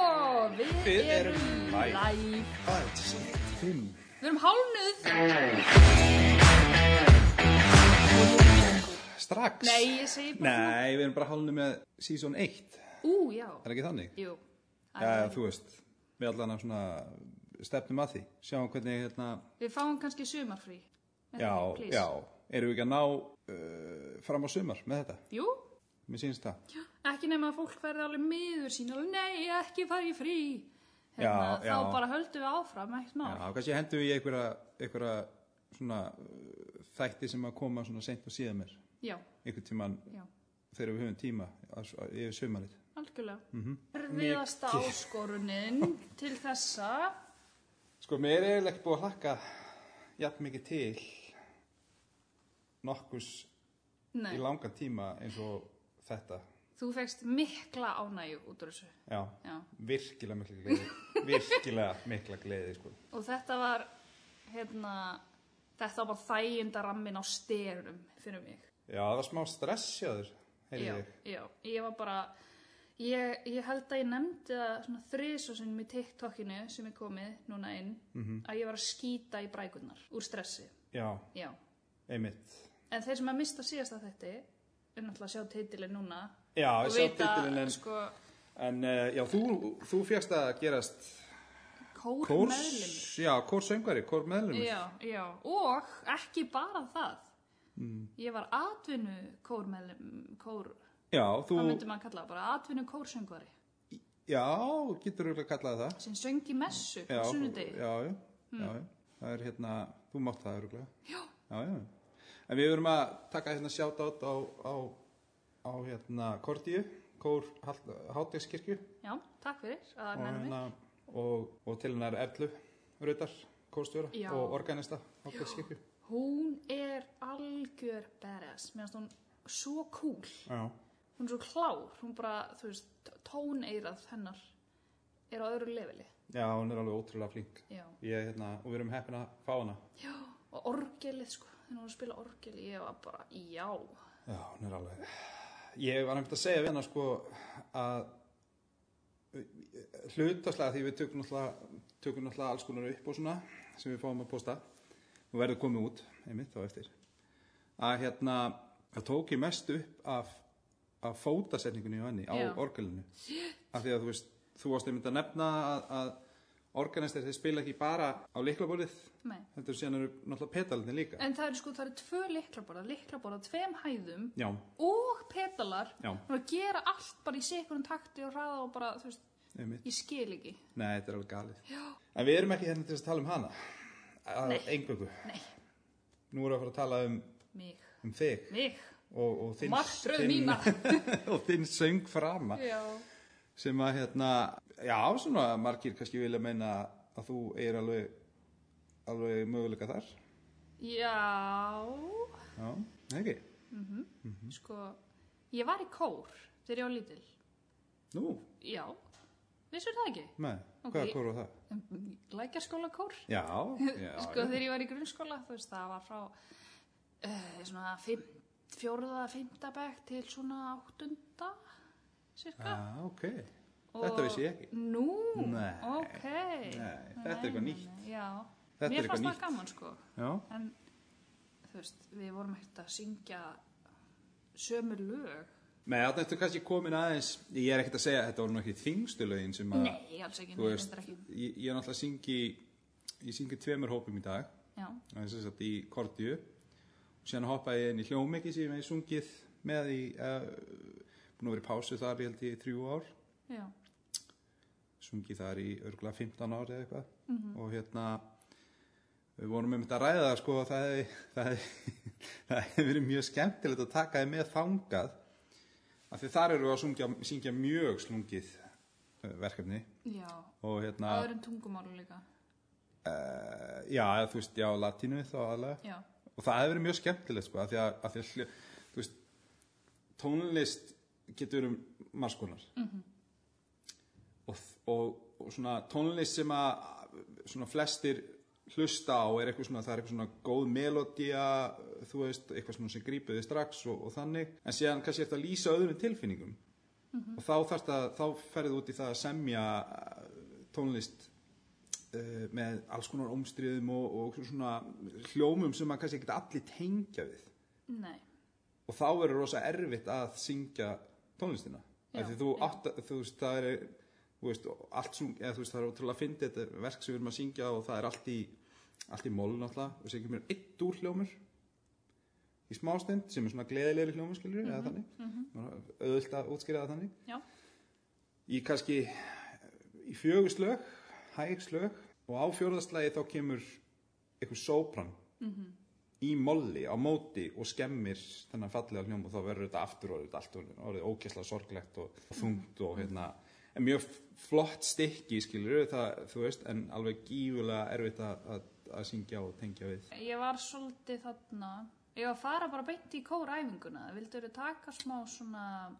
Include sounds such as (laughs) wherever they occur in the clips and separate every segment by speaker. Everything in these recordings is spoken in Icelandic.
Speaker 1: og við erum live. Við erum hálnuð.
Speaker 2: Strax?
Speaker 1: Nei, ég segi bara hálnuð.
Speaker 2: Nei, við erum bara hálunum með season 1.
Speaker 1: Ú, já.
Speaker 2: Er ekki þannig?
Speaker 1: Jú.
Speaker 2: Já, þú veist, við allan að svona stefnum að því. Sjáum hvernig hérna,
Speaker 1: Við fáum kannski sumarfrí. Er
Speaker 2: já,
Speaker 1: það, please?
Speaker 2: já, erum við ekki að ná uh, fram á sumar með þetta?
Speaker 1: Jú,
Speaker 2: Mér sýnst það.
Speaker 1: ekki nema að fólk verði alveg miður sín alveg, nei, ekki fara í frí.
Speaker 2: Já,
Speaker 1: Hérna,
Speaker 2: já.
Speaker 1: Þá bara höldum við áfram, ekkert
Speaker 2: Já,
Speaker 1: mál.
Speaker 2: kannski hendum við í einhverja, einhverja svona uh, þætti sem að koma svona seint og síðan mér.
Speaker 1: Já,
Speaker 2: Einhvern tíman
Speaker 1: já.
Speaker 2: þegar við höfum tíma að- að- yfir sumarið.
Speaker 1: Algjörlega. Mm
Speaker 2: Mhm.
Speaker 1: -hmm. Erfiðasta áskorunin til þessa.
Speaker 2: Sko, mér er eiginlega ekki búið að hlakka jafn mikið til nokkurs
Speaker 1: Nei,
Speaker 2: í langan tíma eins og þetta.
Speaker 1: þú fegst mikla ánægju út úr þessu.
Speaker 2: Já,
Speaker 1: Já.
Speaker 2: virkilega mikla gleði.
Speaker 1: (laughs)
Speaker 2: virkilega mikla gleði, sko.
Speaker 1: Og þetta var, hérna, þetta var bara þæginda rammin á styrunum fyrir mig.
Speaker 2: Já, það var smá stress hjá þér, heyrði
Speaker 1: já,
Speaker 2: ég.
Speaker 1: já, ég var bara, ég, ég held að ég nefndi það svona þriðsvo sinnum í TikTokinu sem er komið núna inn,
Speaker 2: Mhm.
Speaker 1: -hmm. að ég var að skýta í brækurnar úr stressi.
Speaker 2: Já,
Speaker 1: Já,
Speaker 2: einmitt.
Speaker 1: en þeir sem að mista síðasta þetta, er náttúrulega að sjá titilin núna
Speaker 2: Já, ég
Speaker 1: og
Speaker 2: sá
Speaker 1: vita,
Speaker 2: titilin en,
Speaker 1: sko,
Speaker 2: en uh, já, þú, þú fjast að gerast
Speaker 1: kór, kór
Speaker 2: kórs, já, kórsöngari, kór meðlumur.
Speaker 1: Já, já, og ekki bara það.
Speaker 2: Mm.
Speaker 1: Ég var atvinnu kór með, kór,
Speaker 2: Já, þú,
Speaker 1: hvað myndi maður kalla það bara, atvinnu kórsöngvari
Speaker 2: já, getur auðvitað kallað það.
Speaker 1: sem söng í messu
Speaker 2: Já,
Speaker 1: á sunnudegi. Hmm.
Speaker 2: já, já, já, já, það er hérna, þú mátt það öruglega. Já. Já, já. En við verum að taka hérna sjátt á, á, á hérna Kordíu, Kór Háttegskirkju
Speaker 1: Já, takk fyrir að
Speaker 2: og,
Speaker 1: nefna mig.
Speaker 2: hérna, og, og til hennar Erlu Rautar, Kórstjóra
Speaker 1: Já.
Speaker 2: og organista Háttegskirkju.
Speaker 1: Hún er algjör badass, meðan hún svo cool,
Speaker 2: Já.
Speaker 1: hún er svo klár, hún bara, þú veist, tóneirað hennar er á öðru leveli.
Speaker 2: já, hún er alveg ótrúlega flink.
Speaker 1: Já,
Speaker 2: Ég, hérna, og við erum heppin að fá hana.
Speaker 1: já, og orgelið sko, þegar hún var að spila orgel, ég var bara, já,
Speaker 2: Já, hún er alveg Ég var nefnt að segja við hennar sko að hlutaslega því við tökum náttúrulega, tökum náttúrulega alls konar upp og svona sem við fáum að posta og verður komið út, einmitt þá eftir að hérna það tók ég mest upp af, af fótasetningunni hjá henni á
Speaker 1: Já.
Speaker 2: orgelinu af því að þú veist, þú varst einmitt að nefna að, að organistir þeir spila ekki bara á liklabólið
Speaker 1: nei.
Speaker 2: heldur síðan eru náttúrulega petalinni líka
Speaker 1: En það eru sko, það eru tvö liklaborða, liklaborða, tveim hæðum
Speaker 2: Já,
Speaker 1: og pedalar.
Speaker 2: Já.
Speaker 1: Hún er að gera allt bara í sekunum takti og hraða og bara, þú veist,
Speaker 2: einmitt
Speaker 1: ég skil ekki.
Speaker 2: Nei, þetta er alveg galið. Já. En við erum ekki hérna til þess að tala um hana. Að
Speaker 1: Nei.
Speaker 2: Engöngu.
Speaker 1: Nei,
Speaker 2: Nú erum við að fara að tala um,
Speaker 1: mig,
Speaker 2: um þig
Speaker 1: mig,
Speaker 2: og, og þinn,
Speaker 1: martröð
Speaker 2: þinn-
Speaker 1: mína.
Speaker 2: (laughs) og þinn söng frama
Speaker 1: Já,
Speaker 2: sem að hérna, já, svona margir kannski vilja meina að þú er alveg, alveg möguleika þar.
Speaker 1: já,
Speaker 2: Já, nei ekki.
Speaker 1: sko, ég var í kór þegar ég var lítil.
Speaker 2: Nú,
Speaker 1: Já, vissur það ekki?
Speaker 2: nei,
Speaker 1: Ok.
Speaker 2: hvaða kóru var það?
Speaker 1: Lækjaskóla kór.
Speaker 2: Já, já.
Speaker 1: (laughs) sko þegar ég var í grunnskóla þú veist það var frá uh, svona fimm, fjóruða fymta bekk til svona áttunda
Speaker 2: Já,
Speaker 1: cirka
Speaker 2: ok. Ah, Þetta vissi ég ekki.
Speaker 1: nú,
Speaker 2: Nei.
Speaker 1: ok
Speaker 2: Nei, þetta er eitthvað
Speaker 1: nei,
Speaker 2: nýtt.
Speaker 1: nei, já,
Speaker 2: Þetta er
Speaker 1: mér
Speaker 2: eitthvað
Speaker 1: fannst
Speaker 2: nýtt.
Speaker 1: það gaman sko
Speaker 2: Já,
Speaker 1: en þú veist, við vorum ekkert að syngja sömu lög
Speaker 2: nei, þarna ertu kannski komin aðeins, ég er ekkert að segja að þetta voru nokkið þingstu lögin sem að...
Speaker 1: nei, alls ekki,
Speaker 2: Þú
Speaker 1: nei,
Speaker 2: veist,
Speaker 1: þetta er ekki
Speaker 2: ég, ég er náttúrulega syngi, ég syngi tveimur hópum í dag,
Speaker 1: já,
Speaker 2: það er sem sagt í Kortíu, og síðan hoppa ég inn í hljómiki sem ég hef sungið með í, uh, búin að vera í pásu þar ég held ég í þrjú ár,
Speaker 1: já,
Speaker 2: sungið þar í örgulega 15 ár eða eitthvað,
Speaker 1: Mhm.
Speaker 2: og hérna, við vorum með mitt að ræða það sko, að það hefði, (laughs) það hefði, það hefði verið mjög skemmtilegt að taka þið með þangað, af því þar eru við að sungja, syngja mjög slungið eh, verkefni,
Speaker 1: já
Speaker 2: og hérna...
Speaker 1: áður en tungumálu líka
Speaker 2: Uh, já, eða, þú veist, já, latínu þá aðlega
Speaker 1: já,
Speaker 2: og það hefur verið mjög skemmtilegt sko, að því að, að því að hljó, þú veist, tónlist getur um margskonar mm og, og, og svona tónlist sem að svona flestir hlusta á er eitthvað svona, það er eitthvað svona góð melodía, þú veist, eitthvað svona sem grípuði strax og, og þannig en síðan kannski eftir að lýsa öðrum tilfinningum og þá þarft að, þá ferðið út í það að semja uh, tónlist uh, með alls konar ómstriðum og, og svona hljómum sem maður kannski ekkert allir tengja við
Speaker 1: Nei,
Speaker 2: og þá verður rosa erfitt að syngja tónlistina
Speaker 1: Já,
Speaker 2: af því þú
Speaker 1: já.
Speaker 2: átt að, þú veist, það er þú veist, allt sem, eða þú veist, það er ótrúlega að fyndi þetta er verk sem við erum að syngja og það er allt í allt í mól náttúrulega og sem kemur einn dúr hljómur í smástund sem er svona gleðilegri hljómur skilur
Speaker 1: Mhm,
Speaker 2: eða þannig, mm -hmm. auðvöld að útskýra það þannig
Speaker 1: já,
Speaker 2: í kannski í fjögur slög, hæg slög og á fjórðaslagi þá kemur einhver sópran
Speaker 1: Mhm.
Speaker 2: í molli á móti og skemmir þennan fallega hljóm og þá verður þetta aftur orðið allt orðið, orðið ókesslega sorglegt og,
Speaker 1: Mhm.
Speaker 2: og þungt og hérna en mjög flott stykki skilur það, þú veist, en alveg gífulega erfitt að, að, að syngja og tengja við
Speaker 1: ég var svolítið þarna Ég var að fara bara beint í kóræfinguna Vildur þau taka smá svona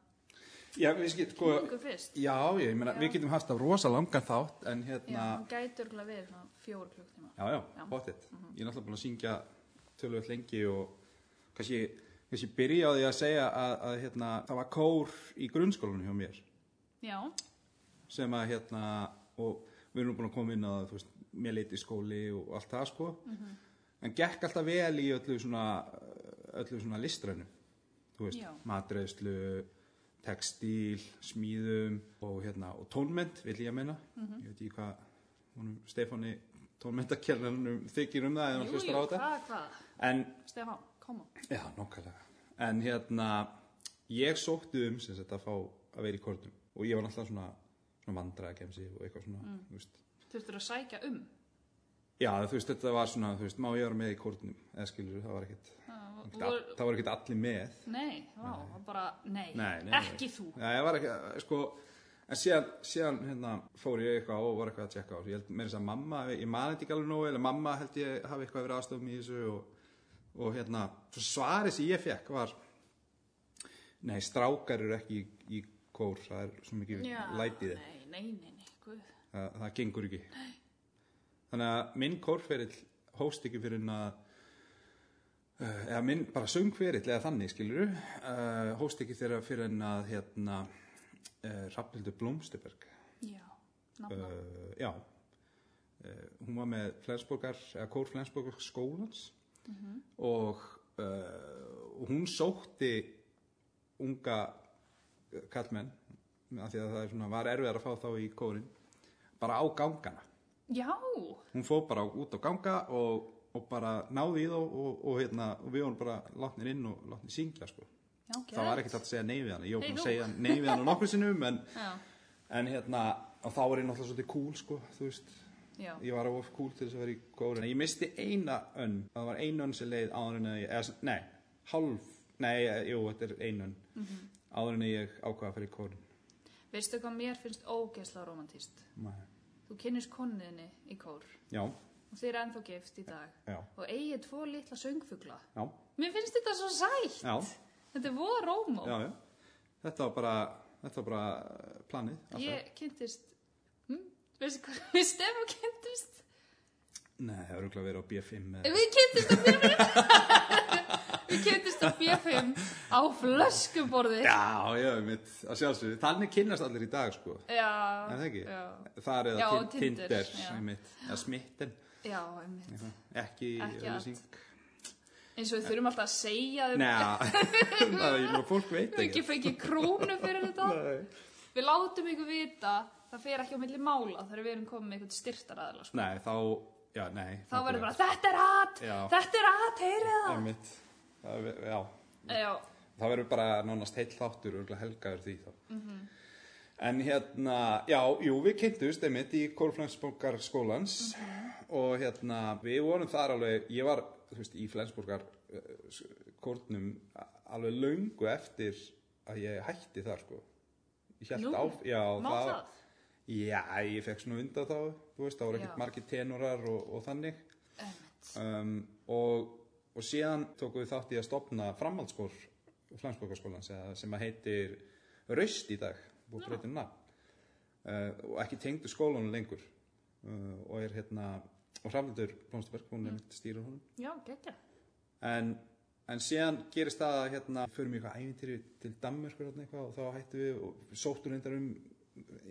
Speaker 2: Já, við skilt, sko
Speaker 1: Lungu fyrst
Speaker 2: Já, ég meina,
Speaker 1: Já.
Speaker 2: við getum haft af rosa langan þátt en
Speaker 1: Já,
Speaker 2: hérna
Speaker 1: hann gæti örgulega verið svona fjóra klukktíma
Speaker 2: Já, já,
Speaker 1: Já.
Speaker 2: bóttið. Ég er náttúrulega búin að syngja tölvöld lengi og kannski, kannski byrja á því að segja að, að hérna, það var kór í grunnskólanum hjá mér
Speaker 1: Já,
Speaker 2: sem að hérna, og við erum nú búin að koma inn að þú veist, mér leiti skóli og allt það sko
Speaker 1: Mhm.
Speaker 2: en gekk alltaf vel í öllu svona öllu svona listrænu þú veist,
Speaker 1: Já.
Speaker 2: matreðslu textíl, smíðum og hérna, og tónmynd vil ég að meina
Speaker 1: Mhm.
Speaker 2: ég veit ekki hvað honum, Stefáni tónmyndakjarnanum þykir um það eða hann
Speaker 1: jú,
Speaker 2: hlustar á
Speaker 1: jú,
Speaker 2: þetta
Speaker 1: hvað, hvað
Speaker 2: en
Speaker 1: Stefán, koma
Speaker 2: Já, nokkulega. En hérna, ég sótti um sem sagt að fá að vera í kortum og ég var náttúrulega svona, svona vandræðakemsi og eitthvað svona, þú veist.
Speaker 1: Þurftur að sækja um
Speaker 2: Já, þú veist, þetta var svona, þú veist, má ég vera með í kortum, eða skilur, það var ekkert,
Speaker 1: Uh,
Speaker 2: ekkert all,
Speaker 1: vor-
Speaker 2: það var ekkert allir með.
Speaker 1: Nei, vá, það var bara, nei,
Speaker 2: Nei, nei, nei.
Speaker 1: ekki þú
Speaker 2: Já, ég var ekki, sko, en síðan, síðan hérna, fór ég eitthvað á og var eitthvað að tjekka á. Ég held meira þess að mamma, ég mani þetta ekki alveg nógu, eða mamma held ég hafi eitthvað verið aðstofum í þessu og, og hérna, svo svarið sem ég fekk var, nei, strákar eru ekki í, í kór, það er svo mikið
Speaker 1: Já,
Speaker 2: lætið,
Speaker 1: Nei, nei, nei, nei, guð
Speaker 2: það, það gengur ekki. Þannig að minn kórferill hóst ekki fyrir en að, Uh, eða minn bara söngferill eða þannig skilur uh, hóst ekki þeirra fyrir en að hérna uh, Rappildur Blómsteberg
Speaker 1: Já, nafna
Speaker 2: uh, já uh, hún var með Flensborgar eða Kór Flensborgar skólans og uh, hún sótti unga eh, kallmenn af því að það er svona, var erfiðar að fá þá í kórin bara á gangana
Speaker 1: Já,
Speaker 2: hún fóð bara út á ganga og, og bara náði í þá og, og, hérna, og við vorum bara látnir inn og látnir syngja sko.
Speaker 1: já, ok
Speaker 2: það var ekkert hægt að segja nei við hana ég var
Speaker 1: Hey,
Speaker 2: búin
Speaker 1: nú.
Speaker 2: að segja nei við hana nokkur sinnum en,
Speaker 1: Já,
Speaker 2: en hérna, og þá var ég náttúrulega svolítið cool sko, þú veist,
Speaker 1: já,
Speaker 2: ég var of cool til þess að vera í kórin ég misti eina önn, það var ein önn sem leið áður en að ég, eða, sem- nei, hálf nei, eh, jú, þetta er ein önn
Speaker 1: Mhm.
Speaker 2: áður en að ég ákvaða að fara í kórin
Speaker 1: veistu hvað mér finnst ógeðslega romantist Þú kynnist konniðinni í kór
Speaker 2: já,
Speaker 1: og þeir eru ennþá gift í dag
Speaker 2: já,
Speaker 1: og eigið tvo litla söngfugla
Speaker 2: já,
Speaker 1: Mér finnst þetta svo sætt
Speaker 2: já
Speaker 1: Þetta er voða rómó
Speaker 2: já, já. Þetta var bara, þetta var bara eh, planið. alltaf.
Speaker 1: Ég kynntist hm? Veistu hvað (laughs) við stefum kynntist?
Speaker 2: Nei, það var auðvitað að vera á B5 eða...
Speaker 1: Við kynntist á B5 (laughs) Við kynntist á B5 á flöskuborði
Speaker 2: Já, já, mitt, að sjálfsögðu. Þannig kynnast allir í dag, sko.
Speaker 1: Já,
Speaker 2: Er það ekki?
Speaker 1: Já,
Speaker 2: Það er
Speaker 1: Já,
Speaker 2: eða
Speaker 1: og
Speaker 2: Tin-
Speaker 1: Tinder,
Speaker 2: Tinder,
Speaker 1: já.
Speaker 2: einmitt, eða smitten,
Speaker 1: já einmitt.
Speaker 2: ekki
Speaker 1: Ekki
Speaker 2: auðlýsing.
Speaker 1: eins og við þurfum alltaf að segja þeim (laughs)
Speaker 2: Nei, (laughs) það er, ég meina, fólk
Speaker 1: við
Speaker 2: veit
Speaker 1: höfum ekki
Speaker 2: ekki.
Speaker 1: fengið krónu fyrir þetta
Speaker 2: Nei.
Speaker 1: Við látum ykkur vita það fer ekki á milli mála þegar við erum komið með eitthvað styrtaraðala sko.
Speaker 2: Nei, þá, já, nei.
Speaker 1: Þá verður bara þetta er hat,
Speaker 2: Já.
Speaker 1: þetta er hat, heyrið það Eh,
Speaker 2: Einmitt, það, er- já,
Speaker 1: Já,
Speaker 2: það verður bara nánast heill þáttur og helgaður því þá
Speaker 1: Mhm.
Speaker 2: en hérna, já, jú, við kynntust einmitt í Kórflensborgar skólans
Speaker 1: Mhm.
Speaker 2: og hérna, við vorum þar alveg, ég var, þú veist, í Flensborgar uh, kórnum alveg löngu eftir að ég hætti þar, sko ég
Speaker 1: Nú,
Speaker 2: held á, já,
Speaker 1: má það?
Speaker 2: já, ég fekk svona undan þá, þú veist, það voru
Speaker 1: Já.
Speaker 2: ekkert margir tenorar og, og þannig
Speaker 1: Einmitt.
Speaker 2: um, og, og síðan tókum við þátt í að stopna framhaldsskór Flansbókarskólan sem að heitir Raust í dag búið
Speaker 1: Já.
Speaker 2: breytum nafn uh, og ekki tengdu skólanum lengur uh, og er hérna og Hrafnildur Blómsterberg, hún er mitt stýra honum
Speaker 1: Já, geggja
Speaker 2: en, en síðan gerist það að hérna förum í eitthvað ævintýri til Danmörkur þarna eitthvað, og þá hættum við og sóttum reyndar um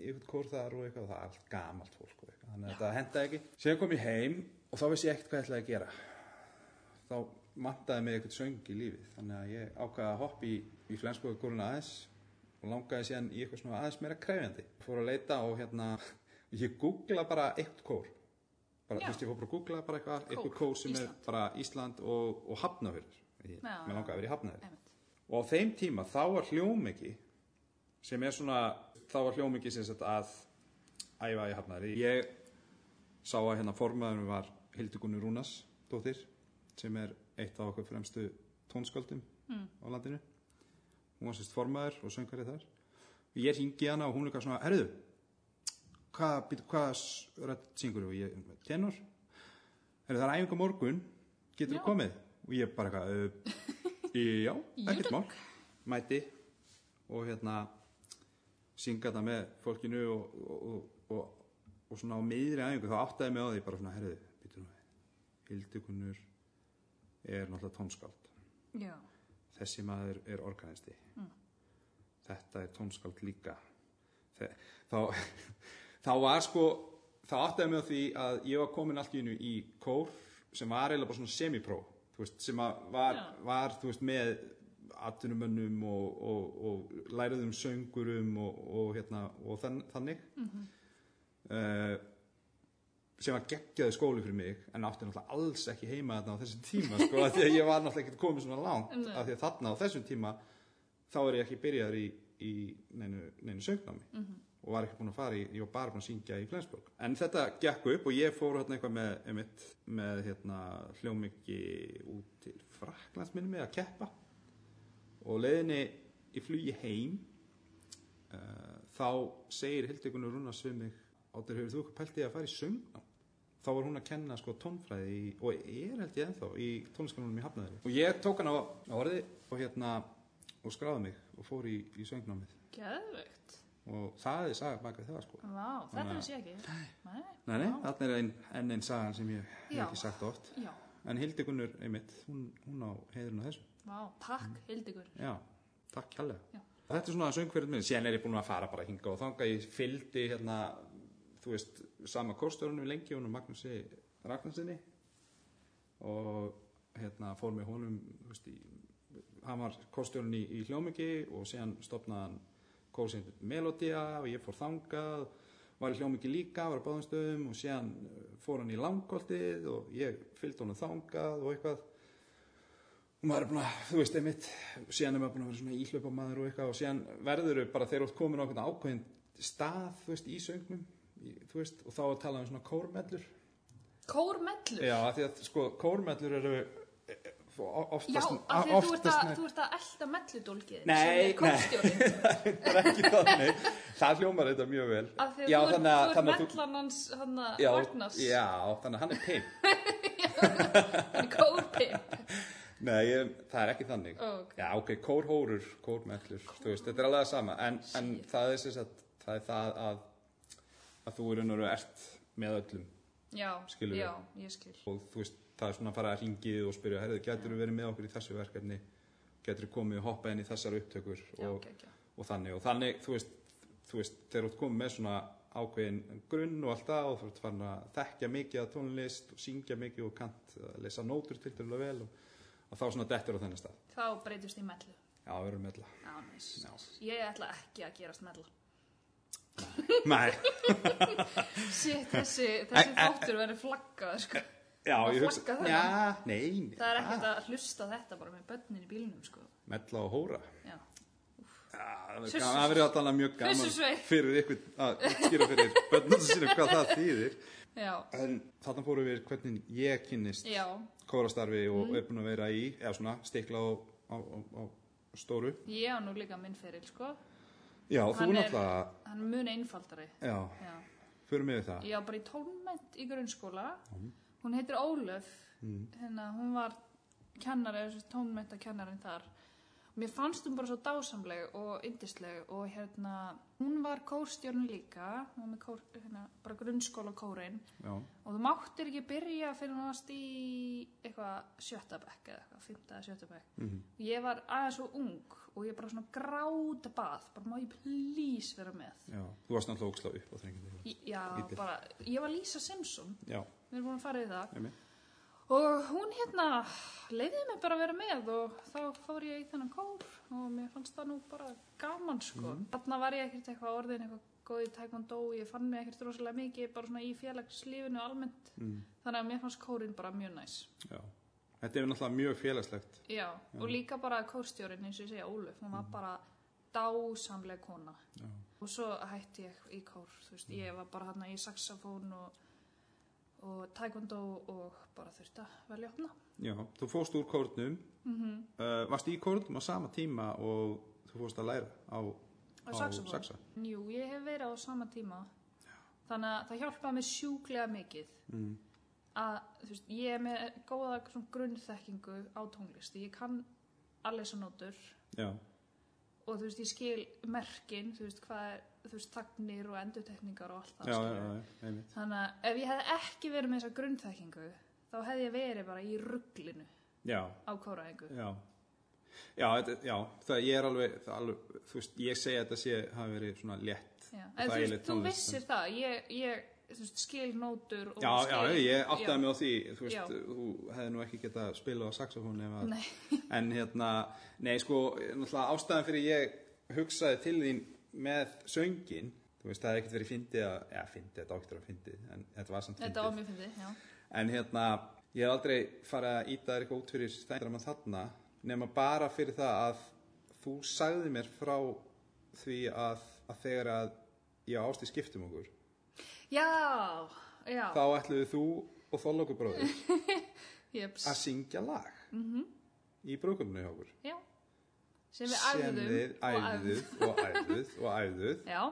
Speaker 2: yfir kór þar og eitthvað, það er allt gamalt fólk og eitthvað, þannig að þetta henda ekki síðan kom ég heim og þá vissi ég ekkert hvað ég ætlaði að gera þá mattaði mig eitthvað söng í lífið þannig að ég ákvaði að hoppa í, í flenskóðakóruna aðeins og langaði síðan í eitthvað svona aðeins meira krefjandi fór að leita og hérna (laughs) ég googla bara eitt kór bara,
Speaker 1: Já.
Speaker 2: þú veist, ég fór bara að googla bara eitthvað,
Speaker 1: Kór,
Speaker 2: eitthvað kór sem
Speaker 1: Ísland.
Speaker 2: er bara Ísland og, og hafnafjörður ég,
Speaker 1: Já.
Speaker 2: mér langaði að vera í hafnafjörður
Speaker 1: einmitt.
Speaker 2: og á þeim tíma þá var hljómiki sem er svona þá var hljómiki sem sagt að æfa í hafnaðri ég sá að hérna formaðurum var Hildugunni Rúnas dóttir sem er eitt af okkur fremstu tónsköldum
Speaker 1: Mm.
Speaker 2: á landinu hún var sérst formaður og söngari þar ég ringi hana og hún er eitthvað svona herðu, hvað, býtu, hvað rödd syngur og ég, tenor herðu það er æfingu á morgun getur
Speaker 1: Já.
Speaker 2: þú komið og ég bara eitthvað "Uh, Já, ekkert mál Mæti og hérna synga þetta með fólkinu og, og, og, og, og svona á miðri æfingu þá áttaði mig á því bara svona herðu, býtur nú við Hildugunur er náttúrulega tónskáld
Speaker 1: Já,
Speaker 2: þessi maður er organisti þetta er tónskáld líka Þe, þá, (laughs) þá var sko þá áttaði mig á því að ég var komin allt í einu í kór sem var eiginlega bara svona semipró þú veist, sem að var,
Speaker 1: Já.
Speaker 2: var þú veist, með atvinnumönnum og, og, og læriðum söngurum og, og, hérna, og þann, þannig
Speaker 1: Mhm.
Speaker 2: uh, sem var geggjaði skóli fyrir mig en átti náttúrulega alls ekki heima þarna á þessum tíma sko, af því að ég var náttúrulega ekkert komið svona langt
Speaker 1: Nei.
Speaker 2: af því að þarna á þessum tíma þá er ég ekki byrjaður í, í neinu, neinu sögnámi og var ekki búin að fara í, ég var bara búin að syngja í Flensborg en þetta gekk upp og ég fór hérna eitthvað með, einmitt, með hérna, hljómiki út til Fraklands minni mig að keppa og á leiðinni í flugi heim uh, þá segir Hildegunur Rúnars við mig Áttur, hefur þú eitthvað pælt í að fara í söngna? Þá var hún að kenna sko tónfræði í, og er held ég ennþá í tónliskanunum í Hafnaðari. Og ég tók hann á, á orði og hérna og skráði mig og fór í, í söngnámið
Speaker 1: geðvögt
Speaker 2: og það er saga bak við það sko.
Speaker 1: Vá, þetta
Speaker 2: Þannig að-
Speaker 1: vissi ég ekki Nei.
Speaker 2: Nei, nei, þarna er ein, enn einn sagan sem ég hef
Speaker 1: Já.
Speaker 2: ekki sagt oft.
Speaker 1: Já,
Speaker 2: En Hildikunnur, einmitt, hún, hún á heiðurinn á þessu.
Speaker 1: vá, takk, Hildigur
Speaker 2: Já, takk kærlega.
Speaker 1: Já.
Speaker 2: Þetta er svona söngferðin minn, síðan er ég búin að fara bara hinga og þanga, ég fylgdi hérna, þú veist, sama kórstörunum lengi honum Magnúsi Ragnarsinni og hérna fór með honum, þú veist, í, hann var kórstörun í, í hljómiki og síðan stopnaði hann kórsind Melodía og ég fór þangað, var í hljómiki líka, var á báðum stöðum og síðan eh, fór hann í langkoltið og ég fylgdi honum þangað og eitthvað og maður er búin að, þú veist, einmitt síðan er maður búin að vera svona íhlaupamaður og eitthvað og síðan verður þau bara þegar þú ert komin á einhvern ákveðin stað, þú veist, í söngnum í, þú veist, og þá er talað um svona kórmellur
Speaker 1: Kórmellur
Speaker 2: já, af því að sko, kórmellur eru eh, eh, o-
Speaker 1: Já,
Speaker 2: oftast
Speaker 1: af því að þú ert að,
Speaker 2: oftast-
Speaker 1: þú ert að elda melludólkið
Speaker 2: Nei, nei.
Speaker 1: nei
Speaker 2: það er ekki þannig það hljómar þetta mjög vel
Speaker 1: Af því að
Speaker 2: já,
Speaker 1: þú ert,
Speaker 2: þannig að-
Speaker 1: þú ert
Speaker 2: þannig að þú-
Speaker 1: mellan hans, hann að
Speaker 2: já,
Speaker 1: Ragnars
Speaker 2: já, þannig að hann er pimp
Speaker 1: Hann er kórpimp
Speaker 2: Nei, ég, það er ekki þannig.
Speaker 1: Ó, ok.
Speaker 2: Já, ok, kórhórur, kórmellur, þú veist, þetta er alveg það sama. En, en það er sem sagt, það er það að, að þú er unnur og ert með öllum.
Speaker 1: Já,
Speaker 2: Skilur við.
Speaker 1: já, ég skil
Speaker 2: Og þú veist, það er svona að fara að ringið og spyrja, herðu, getur þú verið með okkur í þessu verkefni? Getur þú komið og hoppað inn í þessar upptökur?
Speaker 1: Já,
Speaker 2: og,
Speaker 1: ok, ok
Speaker 2: og þannig, og þannig, þú veist, þú veist, þegar þú ert komið með svona ákveðin grunn og allt það og þú ert farin að þekkja mikið að tónlist og syngja mikið og kant, að lesa nótur til vel og, og þá svona dettur á þennan stað.
Speaker 1: Þá breytist í mellu
Speaker 2: Já, við erum meðla.
Speaker 1: Já, næs
Speaker 2: Já.
Speaker 1: Ég ætla ekki að gerast mella
Speaker 2: Nei,
Speaker 1: Sitt, þessi, þessi
Speaker 2: Æ, æ,
Speaker 1: þáttur verður flaggað sko.
Speaker 2: já,
Speaker 1: Má
Speaker 2: ég hugsa,
Speaker 1: flagga það?
Speaker 2: já, nei,
Speaker 1: Það er ekkert að hlusta á þetta bara með börnin í bílnum sko.
Speaker 2: Mella og hóra.
Speaker 1: Já,
Speaker 2: Já, það verður
Speaker 1: Sussu.
Speaker 2: gaman- það verður alltaf mjög gaman
Speaker 1: Sussusvei.
Speaker 2: fyrir ykkur að skýra fyrir bönnum sínum hvað það þýðir.
Speaker 1: já,
Speaker 2: En þarna fórum við hvernig ég kynnist
Speaker 1: já, Mhm.
Speaker 2: kórastarfi og er búin að vera í, eða svona, stikla á, á, á, á stóru.
Speaker 1: ég á nú líka minn feril sko.
Speaker 2: Já, þú
Speaker 1: Hann er-
Speaker 2: náttúrulega,
Speaker 1: Hann er mun einfaldari
Speaker 2: já,
Speaker 1: Já
Speaker 2: förum við það.
Speaker 1: Ég á bara í tónmætt í grunnskóla Hún heitir
Speaker 2: mhm,
Speaker 1: Ólöf hérna, Hún var kennari, tónmætta kennarinn þar mér fannst hún bara svo dásamleg og yndisleg og hérna, hún var kórstjórn líka, hún var með kór, hérna, bara grunnskóla kórin
Speaker 2: já,
Speaker 1: og þú máttir ekki byrja fyrir hún varst í eitthvað sjötta bekk eða eitthvað, fymta eða sjötta bekk
Speaker 2: mhm,
Speaker 1: og ég var aðeins svo ung og ég bara svona gráta bað, bara má ég please vera með
Speaker 2: já. Þú varst náttúrulega óksla upp á þrenginni.
Speaker 1: Í- Já,
Speaker 2: Lítið.
Speaker 1: bara, ég var Lisa Simpson,
Speaker 2: Já,
Speaker 1: við erum búin að fara yfir það
Speaker 2: einmitt.
Speaker 1: Og hún hérna leiði mig bara að vera með og þá fór ég í þennan kór og mér fannst það nú bara gaman sko. Mm Þarna var ég ekkert eitthvað orðin eitthvað góð í taekwondo, ég fann mig ekkert rosalega mikið bara svona í félagslífinu almennt.
Speaker 2: Mm.
Speaker 1: Þannig að mér fannst kórin bara mjög næs.
Speaker 2: Já. Þetta er náttúrulega mjög félagslegt.
Speaker 1: Já, Mhm. og líka bara kórstjórin eins og ég segja Óluf, hún var bara dásamleg kona.
Speaker 2: Já.
Speaker 1: Og svo hætti ég í kór, þú veist, ég var bara hérna í saxofón og, og taekwondo og bara þurfti að velja opna.
Speaker 2: Já, þú fórst úr kórnum,
Speaker 1: Mm
Speaker 2: uh, varst í kórnum á sama tíma og þú fórst að læra á,
Speaker 1: Á saxófón?
Speaker 2: saxa.
Speaker 1: Jú, ég hef verið á sama tíma þannig að það hjálpaði mér sjúklega mikið
Speaker 2: Mm.
Speaker 1: að þú veist, ég er með góða svona grunnþekkingu á tónlist ég kann að lesa nótur
Speaker 2: Já,
Speaker 1: og þú veist, ég skil merkin þú veist, hvað er, þú veist, tagnir og endurtekningar og allt
Speaker 2: já,
Speaker 1: það
Speaker 2: já,
Speaker 1: skilurðu.
Speaker 2: já, einmitt.
Speaker 1: þannig að ef ég hefði ekki verið með þessa grunnþekkingu þá hefði ég verið bara í rugglinu
Speaker 2: Já,
Speaker 1: á kóraðingu
Speaker 2: já. Já, þetta, já, það ég er alveg, það alveg, þú veist, ég segi að þetta sé, hafi verið svona létt.
Speaker 1: Já,
Speaker 2: Það
Speaker 1: en þú,
Speaker 2: er
Speaker 1: veist,
Speaker 2: leitt
Speaker 1: þú
Speaker 2: tónlist,
Speaker 1: vissir það ég, ég þú veist, skil nótur og
Speaker 2: Já, já,
Speaker 1: skil,
Speaker 2: ég áttaði mig á því,
Speaker 1: Já.
Speaker 2: þú veist, þú hefði nú ekki getað spilað á saxofónu ef að
Speaker 1: Nei. (laughs)
Speaker 2: en hérna, nei sko náttúrulega ástæðan fyrir ég hugsaði til þín með söngin þú veist, það hefði ekkert verið fyndið að, já, fyndið, þetta ákvæmtur að fyndið, en þetta var samt
Speaker 1: þetta var
Speaker 2: fyndið
Speaker 1: mjög fyndið, já
Speaker 2: en hérna, ég hef aldrei farið að íta þér eitthvað út fyrir stændraman þarna nema bara fyrir það að þú sagði mér frá því að, að þegar að ég ásti skiptum okkur
Speaker 1: Já, já,
Speaker 2: þá ætluðu þú og Þollóku bróður
Speaker 1: jöps,
Speaker 2: að syngja lag -hmm. í brúkuminu hjá okkur
Speaker 1: já, Mhm. sem við æfðum
Speaker 2: sem við
Speaker 1: og æfðum.
Speaker 2: æfðuð og æfðuð og æfðuð
Speaker 1: Já,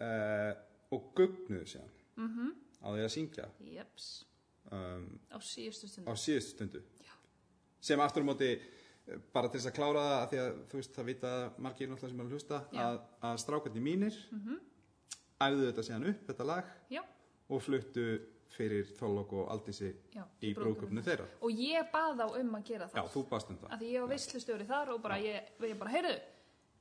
Speaker 2: uh, og gugnuðu síðan
Speaker 1: Mhm.
Speaker 2: -hmm. á því að syngja
Speaker 1: jöps,
Speaker 2: um,
Speaker 1: á síðustu
Speaker 2: á
Speaker 1: stundu.
Speaker 2: síðustu stundu
Speaker 1: Já.
Speaker 2: sem aftur á móti eh, bara til þess að klára það af því að þú veist það vita margir náttúrulega sem er að hlusta
Speaker 1: Já. Mhm.
Speaker 2: að, að strákarnir mínir æfðu þetta síðan upp, þetta lag
Speaker 1: Já,
Speaker 2: og fluttu fyrir Þollok og Aldísi
Speaker 1: já.
Speaker 2: í brúkupnu þeirra
Speaker 1: Og ég bað þá um að gera
Speaker 2: Já,
Speaker 1: það.
Speaker 2: þú baðst um það
Speaker 1: Af því ég var veistlustjóri þar og bara, ég, ég bara, heyrðu,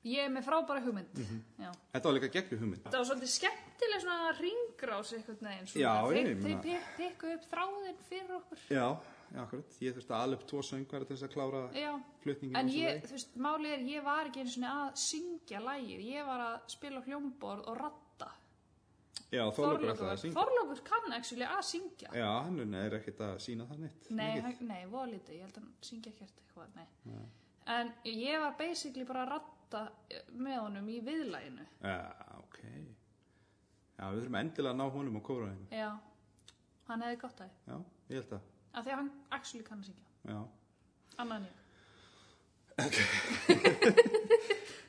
Speaker 1: ég er með frábæra hugmynd.
Speaker 2: Mhm.
Speaker 1: Já.
Speaker 2: Þetta var líka gegnum hugmynd
Speaker 1: Það var svolítið skemmtileg svona ringrás einhvern veginn. Svona.
Speaker 2: Já,
Speaker 1: þeir,
Speaker 2: ég meina-
Speaker 1: Þeir pik- pikku upp þráðinn fyrir okkur.
Speaker 2: Já, já, akkurat, ég þurfti að ala upp tvo söngvara til þess að klára
Speaker 1: Já.
Speaker 2: flutningin
Speaker 1: En
Speaker 2: á þessu
Speaker 1: ég,
Speaker 2: lagi.
Speaker 1: þú veist, málið er, ég var ekki eins og að syngja lægir, ég var að spila á hljómborð og ratta.
Speaker 2: Já, Þorlókur ætlaði að syngja
Speaker 1: Þorlókur kann actually að syngja
Speaker 2: Já, hann er ekkert að sína það neitt
Speaker 1: Nei,
Speaker 2: mikið.
Speaker 1: hann, nei, voða lítið, ég held að hann syngja ekkert eitthvað, nei. En ég var basically bara að ratta eh, með honum í viðlæginu
Speaker 2: Já, ok. Já, við þurfum endilega að ná honum á kóraðinu.
Speaker 1: Já, hann hefði gott af því
Speaker 2: Já, ég held að,
Speaker 1: Af því að hann actually kann að syngja
Speaker 2: já.
Speaker 1: Annað en ég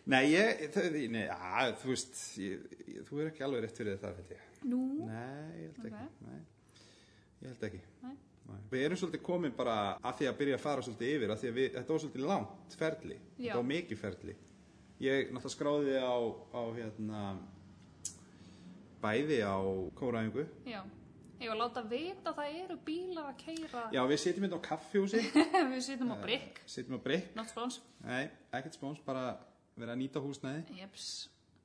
Speaker 2: Nei, ég, það, nei, að, þú veist, ég, ég, þú er ekki alveg rétt fyrir þetta, held ég.
Speaker 1: Nú,
Speaker 2: Nei, ég held ekki,
Speaker 1: Ok.
Speaker 2: nei, ég held ekki.
Speaker 1: Nei.
Speaker 2: Nei. Við erum svolítið komin bara að því að byrja að fara svolítið yfir, að því að við, þetta var svolítið langt ferli,
Speaker 1: Já.
Speaker 2: þetta var mikið ferli. Ég náttúrulega skráði á, á hérna, bæði á kóraðingu,
Speaker 1: já Ég var að láta vita að það eru bílar að keira
Speaker 2: já, við sitjum hérna á kaffihúsi,
Speaker 1: (laughs) Við sittum á brikk,
Speaker 2: sitjum á breyk,
Speaker 1: not spons
Speaker 2: Nei, ekkert spóns, bara vera að nýta húsnæði
Speaker 1: Jeps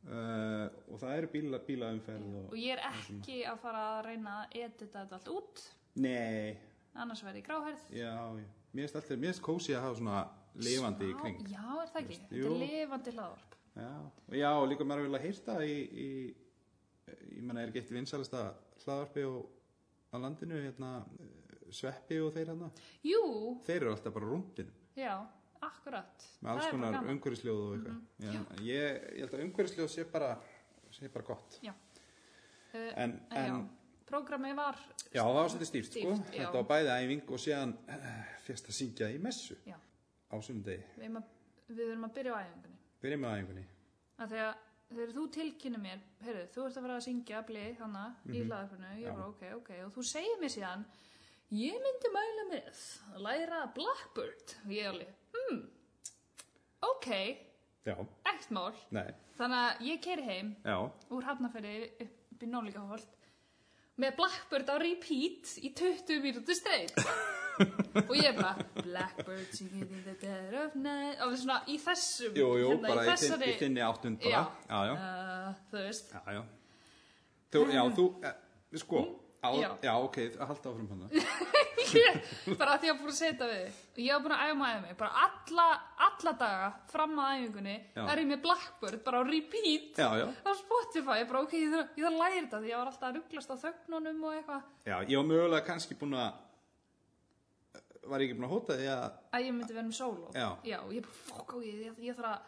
Speaker 2: uh, og það eru bíla, bílaumferð og...
Speaker 1: Og ég er ekki að fara að reyna að edita þetta allt út
Speaker 2: Nei,
Speaker 1: Annars verði ég gráherð
Speaker 2: já, já. Mér finnst alltaf, mér finnst kósi að hafa svona lifandi í
Speaker 1: Já,
Speaker 2: kring.
Speaker 1: Já, er það ekki?
Speaker 2: Veist,
Speaker 1: Þetta
Speaker 2: jú.
Speaker 1: er lifandi hlaðvarp
Speaker 2: Já, og já, og líka maður vilja heyrta í, í, ég menna, er ekki eitt vinsalasta hlaðvarpi og á landinu, hérna, eh, sveppi og þeir hérna.
Speaker 1: Jú,
Speaker 2: Þeir eru alltaf bara rúndin
Speaker 1: já, akkurat
Speaker 2: með alls
Speaker 1: Það er bara
Speaker 2: konar um-
Speaker 1: gaman. Mhm.
Speaker 2: umhverfisljóð og eitthvað. ég, ég, ég held að umhverfisljóð sé bara, sé bara gott.
Speaker 1: Já,
Speaker 2: En,
Speaker 1: Eh, en,
Speaker 2: en,
Speaker 1: já Prógramið var
Speaker 2: Já, það var svolítið stíft, sko.
Speaker 1: Stíft, já.
Speaker 2: Þetta var bæði æfing og síðan eh, fyrst að syngja í messu
Speaker 1: Já,
Speaker 2: á sunnudegi.
Speaker 1: við, erum að, við erum að byrja á æfingunni
Speaker 2: Byrjum með æfingunni.
Speaker 1: að Þegar þegar þú tilkynir mér heyrðu, þú ert að fara að syngja blið hana í hlaðarfinu, ég
Speaker 2: Mhm. Já.
Speaker 1: bara ok, ok og þú segir mér síðan ég myndi mæla með að læra Blackbird og ég alveg, hmm ok,
Speaker 2: já,
Speaker 1: ekkert mál
Speaker 2: nei,
Speaker 1: þannig að ég keri heim
Speaker 2: já,
Speaker 1: úr Hafnarferði upp í Nólíkaholt með Blackbird á repeat í 20 mínútur
Speaker 2: (laughs)
Speaker 1: streit og ég bara Blackbird singing in the dead of night og svona í þessum
Speaker 2: jú, jú,
Speaker 1: hérna, í
Speaker 2: bara í, þinn,
Speaker 1: þessari
Speaker 2: í þinni áttund bara,
Speaker 1: já,
Speaker 2: já, já.
Speaker 1: Uh, þú veist
Speaker 2: Já, já. Þú, já, þú, eh, sko, á, já.
Speaker 1: Ehm. Hm? Já.
Speaker 2: ok, halda áfram hann.
Speaker 1: bara að því að búin að setja við þig. og ég var búin að æfa maður mig bara alla, alla daga fram að æfingunni
Speaker 2: Já.
Speaker 1: er ég með Blackbird bara á repeat
Speaker 2: Já, já,
Speaker 1: á Spotify, ég bara ok, ég þarf ég þarf að læra þetta því ég var alltaf að rugglast á þögnunum og eitthvað
Speaker 2: já, ég var mögulega kannski búin að, eh, var ég ekki búin að hóta því að,
Speaker 1: að ég myndi vera með sóló
Speaker 2: Já.
Speaker 1: og ég bara fokk á ég, ég, ég þarf að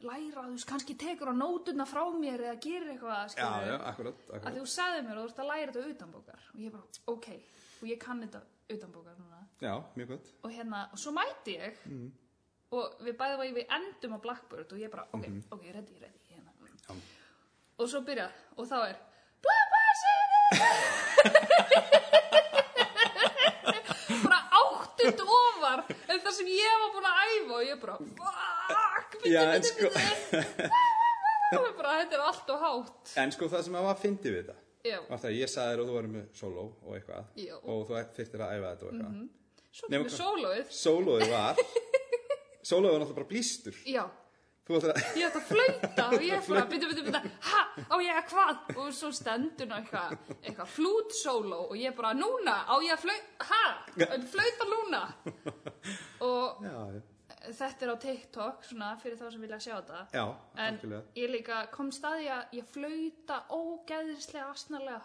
Speaker 1: læra þú veist, kannski tekur á nótuna frá mér eða gerir eitthvað,
Speaker 2: já,
Speaker 1: skilur
Speaker 2: já, akkurat,
Speaker 1: að
Speaker 2: akkurat,
Speaker 1: þú sagði mér að þú ert að læra þetta utanbókar og ég bara, ok, og ég kann þetta utanbókar núna,
Speaker 2: já, mjög gott,
Speaker 1: og hérna og svo mæti ég
Speaker 2: Mm.
Speaker 1: og við bæðum að við endum á Blackbird og ég bara, ok, ok, ready, ready hérna.
Speaker 2: Mhm. Já.
Speaker 1: og svo byrja, og þá er Blackbird singing bara áttund ofar en það sem ég var búin að æfa og ég bara, fuck bíddu,
Speaker 2: Já, en
Speaker 1: bíddu,
Speaker 2: sko-
Speaker 1: bíddu. Ég bara, þetta er allt og hátt
Speaker 2: En sko það sem að var að fyndi við þetta,
Speaker 1: já,
Speaker 2: var það að ég sagði þér að þú varum með sóló og eitthvað,
Speaker 1: Já. Mhm.
Speaker 2: og þú þyrftir að æfa þetta og eitthvað.
Speaker 1: svo
Speaker 2: Nema
Speaker 1: kemur
Speaker 2: hvað?
Speaker 1: sólóið
Speaker 2: Sólóið
Speaker 1: (laughs)
Speaker 2: var, sólóið var náttúrulega bara blístur.
Speaker 1: já,
Speaker 2: Þú ætlar að,
Speaker 1: ég ætti að flauta og ég fyrir að byrja, byrja, byrja, ha, á ég að hvað og svo stendur ná eitthvað eitthva, flút sóló og ég bara, núna á ég að flauta, ha, flauta núna og
Speaker 2: (laughs) já, já,
Speaker 1: þetta er á TikTok svona fyrir þá sem vilja sjá þetta
Speaker 2: já,
Speaker 1: En
Speaker 2: algjörlega.
Speaker 1: ég líka kom staði að ég flauta ógeðislega asnalega.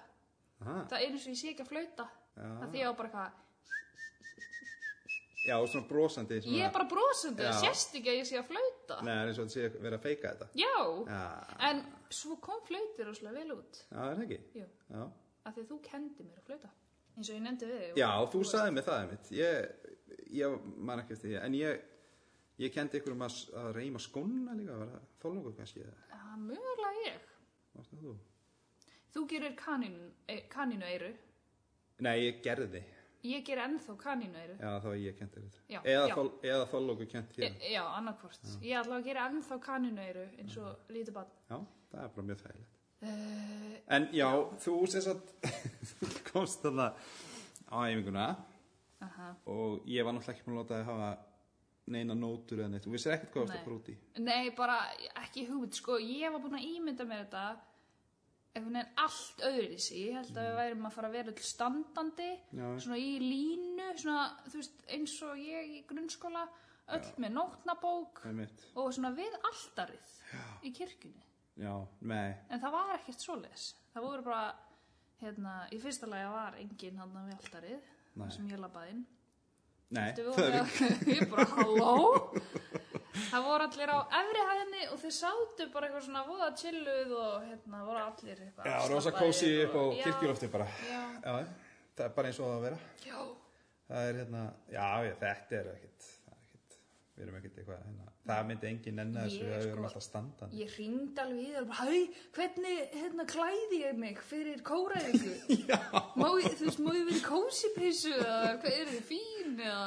Speaker 2: Aha,
Speaker 1: Það er eins og ég sé ekki að flauta.
Speaker 2: Já.
Speaker 1: Það því ég var bara eitthvað,
Speaker 2: já, og svona brosandi, svona,
Speaker 1: ég er bara brosandi,
Speaker 2: Já.
Speaker 1: það sést ekki að ég sé að flauta.
Speaker 2: Nei, það er eins og þetta sé að vera að feika þetta.
Speaker 1: Já.
Speaker 2: Já,
Speaker 1: en svo kom flautir rosalega vel út.
Speaker 2: já, það er ekki,
Speaker 1: Jú,
Speaker 2: já.
Speaker 1: af því að þú kendi mér að flauta. Eins og ég nefndi við þig.
Speaker 2: Já, þú sagði mig það einmitt Ég, ég man ekki eftir því En ég, ég kendi ykkur um að, að reyma skóna líka Var það þólungur kannski eða
Speaker 1: Já, mögulega ég.
Speaker 2: varst það þú?
Speaker 1: Þú gerir kanínu, kanínu eiru.
Speaker 2: Nei, ég gerði
Speaker 1: Ég ger ennþá kanínu eiru.
Speaker 2: Já, þá var ég kendi
Speaker 1: Já,
Speaker 2: þetta Eða,
Speaker 1: já.
Speaker 2: þol, eða þólungur kendi
Speaker 1: Já,
Speaker 2: þér
Speaker 1: Eh, já annarkvort.
Speaker 2: Mm.
Speaker 1: Ég ætla að gera ennþá kanínu eiru eins og lítið bann.
Speaker 2: Já, það er bara mjög þægilegt
Speaker 1: Uh,
Speaker 2: En já, þú sem sagt (laughs) Þú komst þarna á æfinguna
Speaker 1: aha.
Speaker 2: Og ég var náttúrulega ekki búin að láta þið hafa Neina nótur eða neitt Þú vissir ekkert hvað það
Speaker 1: Nei.
Speaker 2: fór út í
Speaker 1: Nei, bara ekki hugmynd, sko, ég var búin að ímynda mér þetta einhvern veginn allt öðruvísi, ég held að við værum að fara að vera öll standandi,
Speaker 2: Mm. Já.
Speaker 1: svona í línu, svona, þú veist, eins og ég í grunnskóla, öll með nótnabók
Speaker 2: Einmitt.
Speaker 1: og svona við alltarið í kirkjunni,
Speaker 2: Já, nei,
Speaker 1: en það var ekkert svoleiðis, það voru bara, hérna, í fyrsta lagi var enginn hann við alltarið,
Speaker 2: Nei.
Speaker 1: þar sem ég labbaði inn,
Speaker 2: nei
Speaker 1: Þú
Speaker 2: það er-
Speaker 1: voru- (laughs) ég bara, halló það voru allir á efri hæðinni og þeir sátu bara eitthvað svona voða chilluð og hérna voru allir eitthvað
Speaker 2: Já, rosa
Speaker 1: slappaðir
Speaker 2: kósi
Speaker 1: og-
Speaker 2: upp á
Speaker 1: Já,
Speaker 2: kirkjulofti bara.
Speaker 1: já,
Speaker 2: Já, það er bara eins og það að vera.
Speaker 1: já,
Speaker 2: Það er hérna, já, ég, þetta er ekkit, það er ekkit, við erum ekkit eitthvað, hérna, það myndi engin nenni þessu,
Speaker 1: Ég,
Speaker 2: við
Speaker 1: sko,
Speaker 2: erum alltaf standan.
Speaker 1: ég hringd alveg í það bara, hæ, hvernig hérna klæði ég mig fyrir
Speaker 2: (laughs)
Speaker 1: kóraðingu má ég, þú veist, má ég verið kósi pissu eða hvað er þið fín eða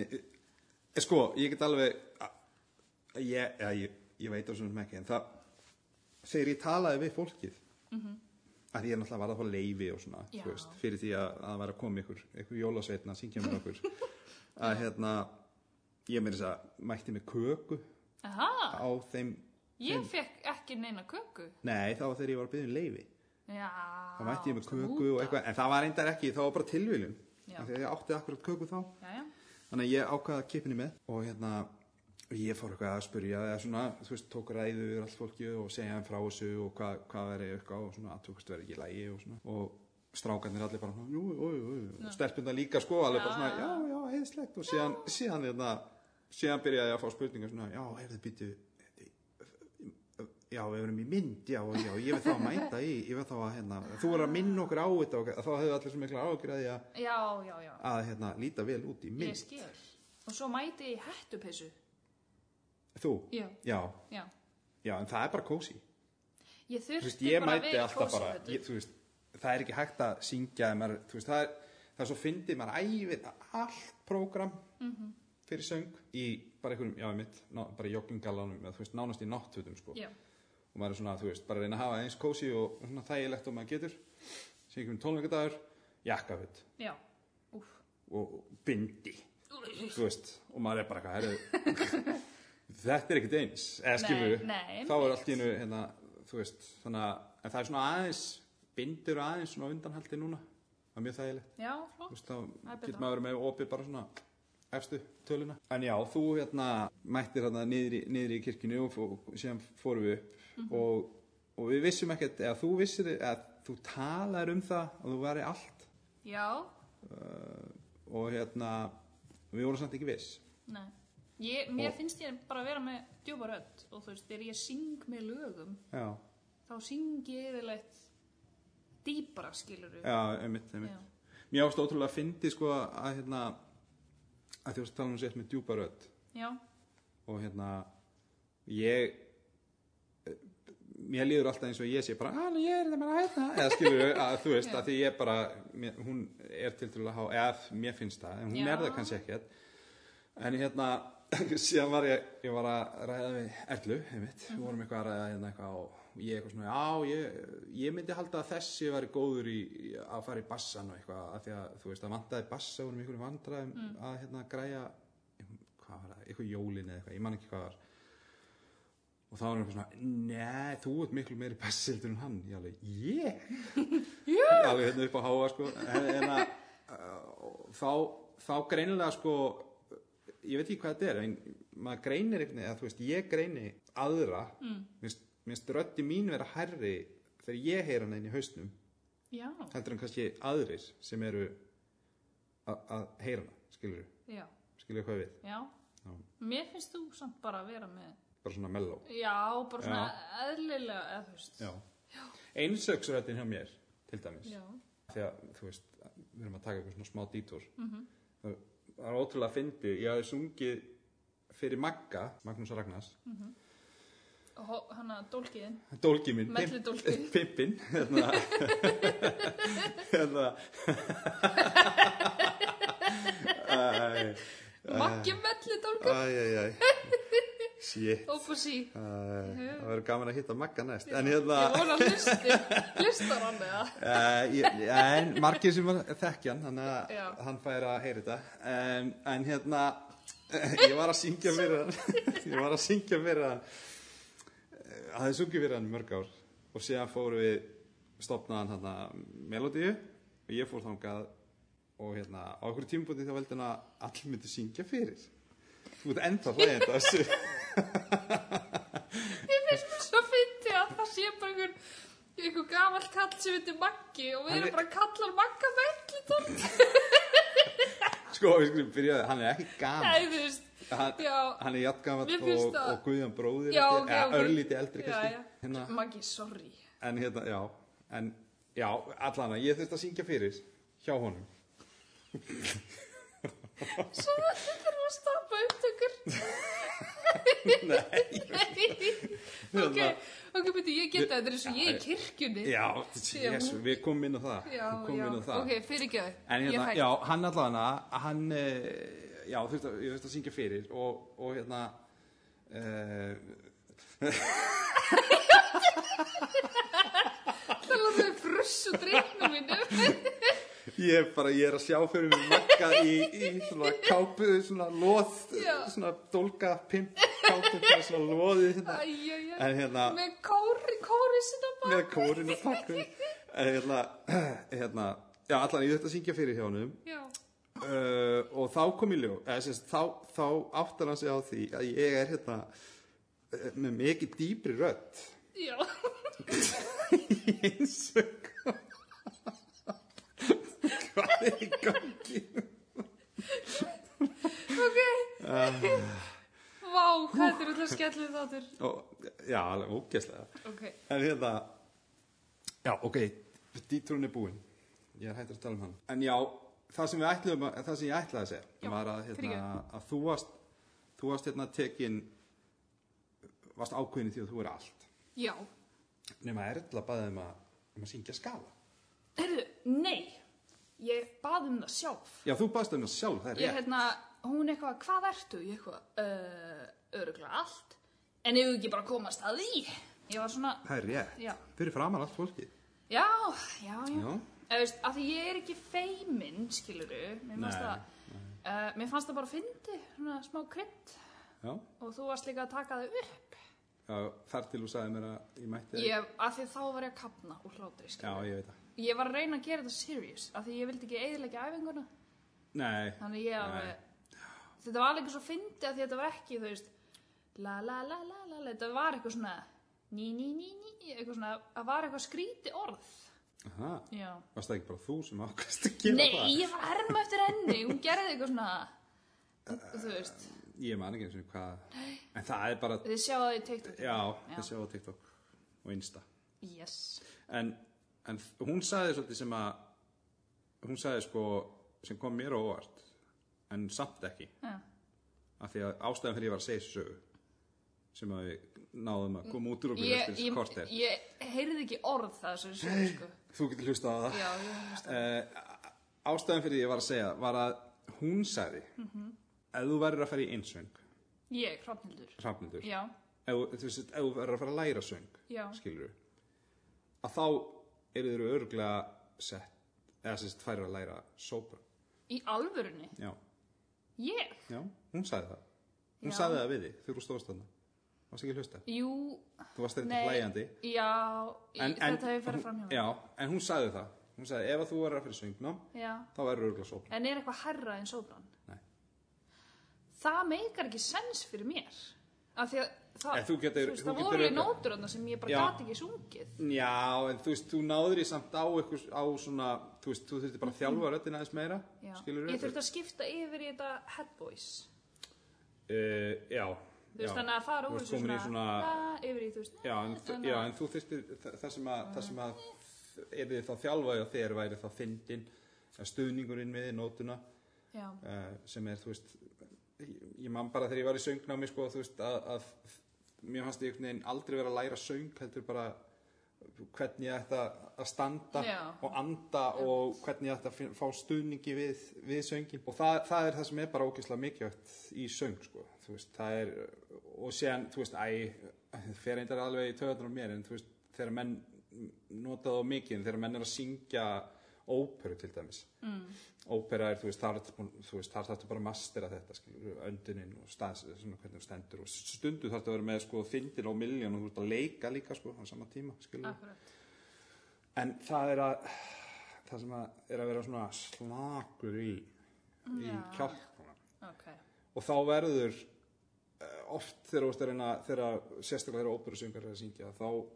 Speaker 2: Ég... Sko, ég get alveg, a- ég, já, ég, ég veit á svona ekki, en það, þegar ég talaði við fólkið, að ég er náttúrulega varð að fá leifi og svona,
Speaker 1: Mhm. Já.
Speaker 2: þú veist, fyrir því að, að það var að koma ykkur, ykkur jólasveitna, syngja með okkur, að hérna, ég meiri þess að mætti með köku
Speaker 1: aha,
Speaker 2: á þeim
Speaker 1: ég fekk ekki neina köku
Speaker 2: Nei, það var þegar ég var að byggja um leiði.
Speaker 1: já,
Speaker 2: Það mætti ég með köku og eitthvað, en það var reyndar ekki, það var bara tilviljun.
Speaker 1: Já.
Speaker 2: Af því að ég átti akkurat köku þá.
Speaker 1: já, já,
Speaker 2: Þannig að ég ákvaði að kipinni með og hérna, og ég fór eitthvað að spurja eða svona, þú veist, tók ræðu yfir allt fólki og segja þeim frá þessu og hvað, hvað veri eitthvað og svona, aðtökust veri ekki í lægi og svona. Og strákarnir allir bara, jú, jú, jú, jú, stelpundar líka sko, alveg bara svona, já, já, heiðslegt og síðan, síðan, hérna, síðan byrjaði ég að fá spurningar svona, já, heyrðu, býtu, já, við erum í mynd, já, já, ég veit þá að mæta í, ég veit þá að, hérna, þú er að minna okkur á þetta og þá hefur allir svo mikla ágjur að því að,
Speaker 1: já, já, já
Speaker 2: að, hérna, líta vel út í
Speaker 1: Ég
Speaker 2: mynd.
Speaker 1: skil. Og svo mæti ég í hættupessu.
Speaker 2: Þú?
Speaker 1: Já.
Speaker 2: Já,
Speaker 1: Já.
Speaker 2: já, en það er bara kósi.
Speaker 1: Ég
Speaker 2: Þú veist,
Speaker 1: þurfti
Speaker 2: ég
Speaker 1: bara
Speaker 2: mæti alltaf bara,
Speaker 1: kósafötum.
Speaker 2: ég, þú veist, það er ekki hægt að
Speaker 1: Mhm.
Speaker 2: syngja, ef maður, þú veist, það er, það er svo fyndið, maður æfir allt prógram fyrir söng í bara einhverjum, já, mitt, ná, bara í jogginggalanum eða þú veist, nánast í náttfötum sko.
Speaker 1: já,
Speaker 2: og maður er svona, þú veist, bara að reyna að hafa eins kósi og svona þægilegt og maður getur sem ekki um tónleikadagur, jakkaföt
Speaker 1: já, úf
Speaker 2: og bindi þú veist, og maður er bara eitthvað herri,
Speaker 1: (laughs)
Speaker 2: þetta er ekkert eins eða skilur
Speaker 1: Nei, nei,
Speaker 2: þá er
Speaker 1: einmitt.
Speaker 2: allt í einu hérna, þú veist, þannig að en það er svona aðeins, bindur aðeins svona á undanhaldi núna, það er mjög þægilegt
Speaker 1: já,
Speaker 2: þú
Speaker 1: flott,
Speaker 2: veist, þá
Speaker 1: er betra.
Speaker 2: getur maður verið með opið bara svona efstu töluna en já, þú hérna mættir hérna niður í, niður í kirkinu og, fó- og síðan fórum við upp
Speaker 1: Mhm.
Speaker 2: og, og við vissum ekkert, eða þú vissir eða þú talar um það að þú væri allt
Speaker 1: já,
Speaker 2: og hérna, við vorum samt ekki viss
Speaker 1: nei ég, mér
Speaker 2: Og-
Speaker 1: finnst ég bara að vera með djúpa rödd og þú veist, þegar ég syng með lögum
Speaker 2: já,
Speaker 1: þá syng ég yfirleitt dýpra skilur
Speaker 2: já, einmitt, einmitt mér ástu ótrúlega að fyndi sko að hérna að þú varst að tala um sér með djúpa rödd
Speaker 1: já,
Speaker 2: og hérna ég eh, mér líður alltaf eins og ég sé bara að ég er þetta bara hérna eða skilur
Speaker 1: (laughs)
Speaker 2: að þú veist
Speaker 1: Já.
Speaker 2: að því ég bara mér, hún er til til að há eða mér finnst það en hún
Speaker 1: Já.
Speaker 2: er það kannski ekkert en hérna (laughs) síðan var ég, ég var að ræða við Erlu einmitt,
Speaker 1: Mhm.
Speaker 2: við vorum eitthvað að ræða hérna eitthvað og ég eitthvað svona, já, ég, ég myndi halda að þessi væri góður í, í- að fara í bassan og eitthvað, af því að þú veist, að vantaði bassa og um einhverjum vandræðum
Speaker 1: Mm.
Speaker 2: að hérna græja hvað var það, eitthvað jólin eða eitthvað, ég man ekki hvað var og þá var hann eitthvað svona nei, þú ert miklu meiri bassildur en hann ég alveg, ég yeah! alveg hérna upp á háa sko en, en að, uh, þá, þá greinilega sko ég veit ekki hvað þetta er en maður greinir einhvern veginn, eða þú veist, ég greini aðra, mm. minnst, minnst röddi mín vera herri þegar ég heyra hann inn í hausnum
Speaker 1: já,
Speaker 2: heldur en kannski aðrir sem eru að að heyra hana, skilur
Speaker 1: já,
Speaker 2: skilur hvað ég við,
Speaker 1: já
Speaker 2: Já.
Speaker 1: mér finnst þú samt bara að vera með
Speaker 2: bara svona melló
Speaker 1: já, bara svona
Speaker 2: Já.
Speaker 1: eðlilega eða þú veist
Speaker 2: Já. Einsöksröttin hjá mér, til dæmis.
Speaker 1: já,
Speaker 2: Þegar, þú veist, við erum að taka eitthvað svona smá dítúr.
Speaker 1: Mhm.
Speaker 2: -hmm. Það var ótrúlega að fyndi, ég hafði sungið fyrir Magga, Magnús Ragnars,
Speaker 1: Ho- hana dólkiðin
Speaker 2: dólki minn,
Speaker 1: Melludólkinn.
Speaker 2: (laughs) pimpin, hérna, hérna,
Speaker 1: (laughs)
Speaker 2: æ,
Speaker 1: Maggi melli dólkar
Speaker 2: æ, æ, æ, shit,
Speaker 1: Ópusí
Speaker 2: æ, það verður gaman að hitta Magga næst, en hérna,
Speaker 1: Ég vona að hlusti Hlustar hann eða
Speaker 2: Uh, ég, en margir sem var þekkjan þannig
Speaker 1: Já.
Speaker 2: að hann fær að heyra þetta um, en hérna ég var að syngja fyrir hann (laughs) ég var að syngja fyrir hann Eh, hafði sungið fyrir hann í mörg ár og síðan fórum við stopnaðan hann melodíu og ég fór þangað og hérna á okkur tímabúti þá veldi hann að allir myndi syngja fyrir þú veit enda hlægjandi að þessu
Speaker 1: Ég finnst mér svo fyndi að það sé bara einhver einhver gamall kall sem heitir Maggi og við
Speaker 2: Hann er-
Speaker 1: erum bara að kalla hann Magga melli dólkar
Speaker 2: (laughs) sko við skulum byrja á- hann er ekki gaman
Speaker 1: Nei, þú veist
Speaker 2: hann,
Speaker 1: Já.
Speaker 2: hann er jafngamall
Speaker 1: Mér finnst
Speaker 2: og,
Speaker 1: það-
Speaker 2: og Guðjón bróðir
Speaker 1: Já,
Speaker 2: held
Speaker 1: ok,
Speaker 2: ég, eða
Speaker 1: ok.
Speaker 2: örlítið
Speaker 1: Já,
Speaker 2: eldri kannski
Speaker 1: já.
Speaker 2: Hérna,
Speaker 1: Maggi, sorry
Speaker 2: en hérna, já en, já, allan að ég þurfti að syngja fyrir hjá honum (laughs)
Speaker 1: Svo þetta er að stoppa upptökur
Speaker 2: (laughs) Nei,
Speaker 1: (laughs)
Speaker 2: hérna,
Speaker 1: Ok, ok, beti, ég geta þetta er eins og ég í kirkjunni
Speaker 2: já,
Speaker 1: Síðan-
Speaker 2: jesu, við komum inn á það
Speaker 1: já,
Speaker 2: við komum
Speaker 1: já.
Speaker 2: inn á það
Speaker 1: ok, fyrirgjöðu,
Speaker 2: en
Speaker 1: ég
Speaker 2: hérna,
Speaker 1: hætt
Speaker 2: já, hann allan að hann, eh, já, þurfti að, ég þurfti að syngja fyrir og, og hérna uh,
Speaker 1: Það var það fruss og dreifnum
Speaker 2: (laughs)
Speaker 1: mínum.
Speaker 2: Ég er bara, ég er að sjá fyrir mér makka í, í svona kápu, svona loð,
Speaker 1: Já.
Speaker 2: svona dólka, pimp, kápu, bara svona loði hérna.
Speaker 1: Æjæjæ.
Speaker 2: En hérna,
Speaker 1: Með kóri, kóri sinna bara.
Speaker 2: með kórinu pakkum. En hérna, (clears throat) hérna, já, allan ég þurfti að syngja fyrir hjá honum.
Speaker 1: Já.
Speaker 2: Uh, og þá kom í ljó, eða sérst, þá, þá áttar hann sig á því að ég er hérna eh, með mikið dýpri rödd.
Speaker 1: Já.
Speaker 2: Einsök. Hvað er í gangi?
Speaker 1: Ok.
Speaker 2: Ah.
Speaker 1: Vá, hvað þetta er alltaf skellið þáttur.
Speaker 2: Og, já, alveg ógeðslega.
Speaker 1: Ok.
Speaker 2: En hérna Já, ok, dítrún er búinn Ég er hættur að tala um hann En já, það sem, við ætluðum, að- það sem ég ætlaði að segja
Speaker 1: Já,
Speaker 2: var að, hérna,
Speaker 1: fyrirgefðu.
Speaker 2: að þú varst þú varst hérna tekin varst ákveðin í því að þú er allt
Speaker 1: Já.
Speaker 2: nema Erla baðið um að, um að syngja skala
Speaker 1: Herðu, nei. Ég bað um það sjálf.
Speaker 2: Já, þú baðst um það sjálf, það er
Speaker 1: Ég
Speaker 2: rétt
Speaker 1: hérna, hún eitthvað, hvað ertu? Ég eitthvað, uh, öruglega allt, en ef ekki bara komast að því. Ég var svona,
Speaker 2: Það er rétt.
Speaker 1: Já.
Speaker 2: Fyrir framar allt fólki.
Speaker 1: já, já, já.
Speaker 2: Já.
Speaker 1: Eða, veist, af því ég er ekki feimin, skiluru, mér fannst
Speaker 2: Nei,
Speaker 1: það, uh, mér fannst það bara fyndi, svona smá krydd
Speaker 2: Já.
Speaker 1: og þú varst líka að taka það upp.
Speaker 2: Já, þar til þú sagði mér að ég mætti þig.
Speaker 1: Ég, af því þá var ég að kapna úr hlátri,
Speaker 2: Já,
Speaker 1: skiluru.
Speaker 2: ég veit það.
Speaker 1: Ég var að reyna að gera þetta serious, af því ég vildi ekki eðilegja æfinguna.
Speaker 2: Nei.
Speaker 1: Þannig ég
Speaker 2: Nei.
Speaker 1: alveg Þetta var alveg svo fyndi að því þetta var ekki þú veist la la la la la la þetta var eitthvað svona ný ní ní ní eitthvað svona það var eitthvað skríti orð
Speaker 2: Aha.
Speaker 1: Já
Speaker 2: Varst það ekki bara þú sem ákvæmst að gera það?
Speaker 1: Nei, ég var að herma eftir henni hún gerði eitthvað svona þú veist
Speaker 2: Ég man ekki eins og hvað. En það er bara,
Speaker 1: þið sjáðu það í TikTok
Speaker 2: já, það sjá á TikTok og Insta.
Speaker 1: Yes
Speaker 2: En, en hún sagði svolítið sem að, hún sagði sko, sem kom mér á óvart, en samt ekki.
Speaker 1: Já.
Speaker 2: Af því að ástæðan fyrir ég var að segja þessu sögu, sem að við náðum að koma út úr okkur
Speaker 1: Ég,
Speaker 2: eftir þessu
Speaker 1: ég,
Speaker 2: korter.
Speaker 1: ég heyrði ekki orð það sem sem sko
Speaker 2: Þú getur hlustað á það.
Speaker 1: Já, ég hlusta
Speaker 2: uh, ástæðan fyrir ég var að segja var að hún sagði
Speaker 1: Mhm.
Speaker 2: ef þú verður að fara í einsöng
Speaker 1: Ég, Hrafnildur
Speaker 2: hrafnendur,
Speaker 1: Já,
Speaker 2: ef, þú- þú veist, ef þú verður að fara að læra söng
Speaker 1: Já.
Speaker 2: skilur að þá eru þeir örglega sett, eða sérst færir að læra sópra,
Speaker 1: í alvörunni
Speaker 2: já,
Speaker 1: Ég
Speaker 2: já, hún sagði það hún
Speaker 1: Já.
Speaker 2: sagði það við þig þegar þú stóðst þarna varst ekki að hlusta,
Speaker 1: Jú,
Speaker 2: þú varst þetta
Speaker 1: Nei,
Speaker 2: hlæjandi
Speaker 1: Já, en,
Speaker 2: En- en-
Speaker 1: þetta hefur farið fram hjá mér.
Speaker 2: já, en hún sagði það hún sagði ef að þú verður að fara í söngnám
Speaker 1: Já.
Speaker 2: þá verður örglega sópra
Speaker 1: En er eitthvað herra en sóbrann?
Speaker 2: Nei.
Speaker 1: Það meikar ekki sens fyrir mér. Af því að það,
Speaker 2: En þú getur-
Speaker 1: veist,
Speaker 2: þú
Speaker 1: það
Speaker 2: getur
Speaker 1: voru
Speaker 2: auðvitað-
Speaker 1: nótur annað sem ég bara
Speaker 2: Já.
Speaker 1: gati ekki sungið.
Speaker 2: Já, en þú veist, þú náður í samt á, ykkur, á svona, þú veist, þú þurfti bara að þjálfa röddina aðeins meira,
Speaker 1: Já.
Speaker 2: skilur
Speaker 1: Ég þurfti að skipta yfir í þetta head voice.
Speaker 2: Eh, já,
Speaker 1: Þú veist,
Speaker 2: já.
Speaker 1: þannig að fara
Speaker 2: Þú
Speaker 1: úr
Speaker 2: ert
Speaker 1: þessu
Speaker 2: komin í svona-
Speaker 1: la, yfir í, þú veist, eh,
Speaker 2: Já, en, þú-
Speaker 1: þannig
Speaker 2: já,
Speaker 1: að-
Speaker 2: en þú þurfti, þa- það sem að, það sem að er þið þá þjálfaði á þér væri þá fyndin, eða stuðningurinn við þig, nótuna,
Speaker 1: já.
Speaker 2: uh, sem er, þú veist, ég, ég man bara þegar ég var í söngnámi, sko, þú veist, að, að mér fannst ég einhvern veginn aldrei vera að læra söng, heldur bara hvernig ég ætti að að standa
Speaker 1: Já.
Speaker 2: og anda og hvernig ég ætti að fin- fá stuðningi við, við söngin og það, það er það sem er bara ógeðslega mikilvægt í söng sko, þú veist, það er og séðan, þú veist, æ það fer eindar alveg í töðunar á mér en þú veist, þegar menn nota það á mikið en þegar menn er að syngja óperu til dæmis mm. ópera er, þú veist, þar ertu búin- þú veist, þar þarftu bara að mastera þetta skilur, öndunin og stans, svona hvernig þú stendur og stundu þarftu að vera með, sko, fyndin á miljón og þú ert að leika líka, sko, á sama tíma skilur,
Speaker 1: Akkurat. Ah.
Speaker 2: En það er að það sem að er að vera svona slakur í í
Speaker 1: Já.
Speaker 2: kjálkana
Speaker 1: Ok.
Speaker 2: og þá verður eh, oft þegar þú ert að reyna þegar sérstaklega þegar óperusöngar er að syngja þá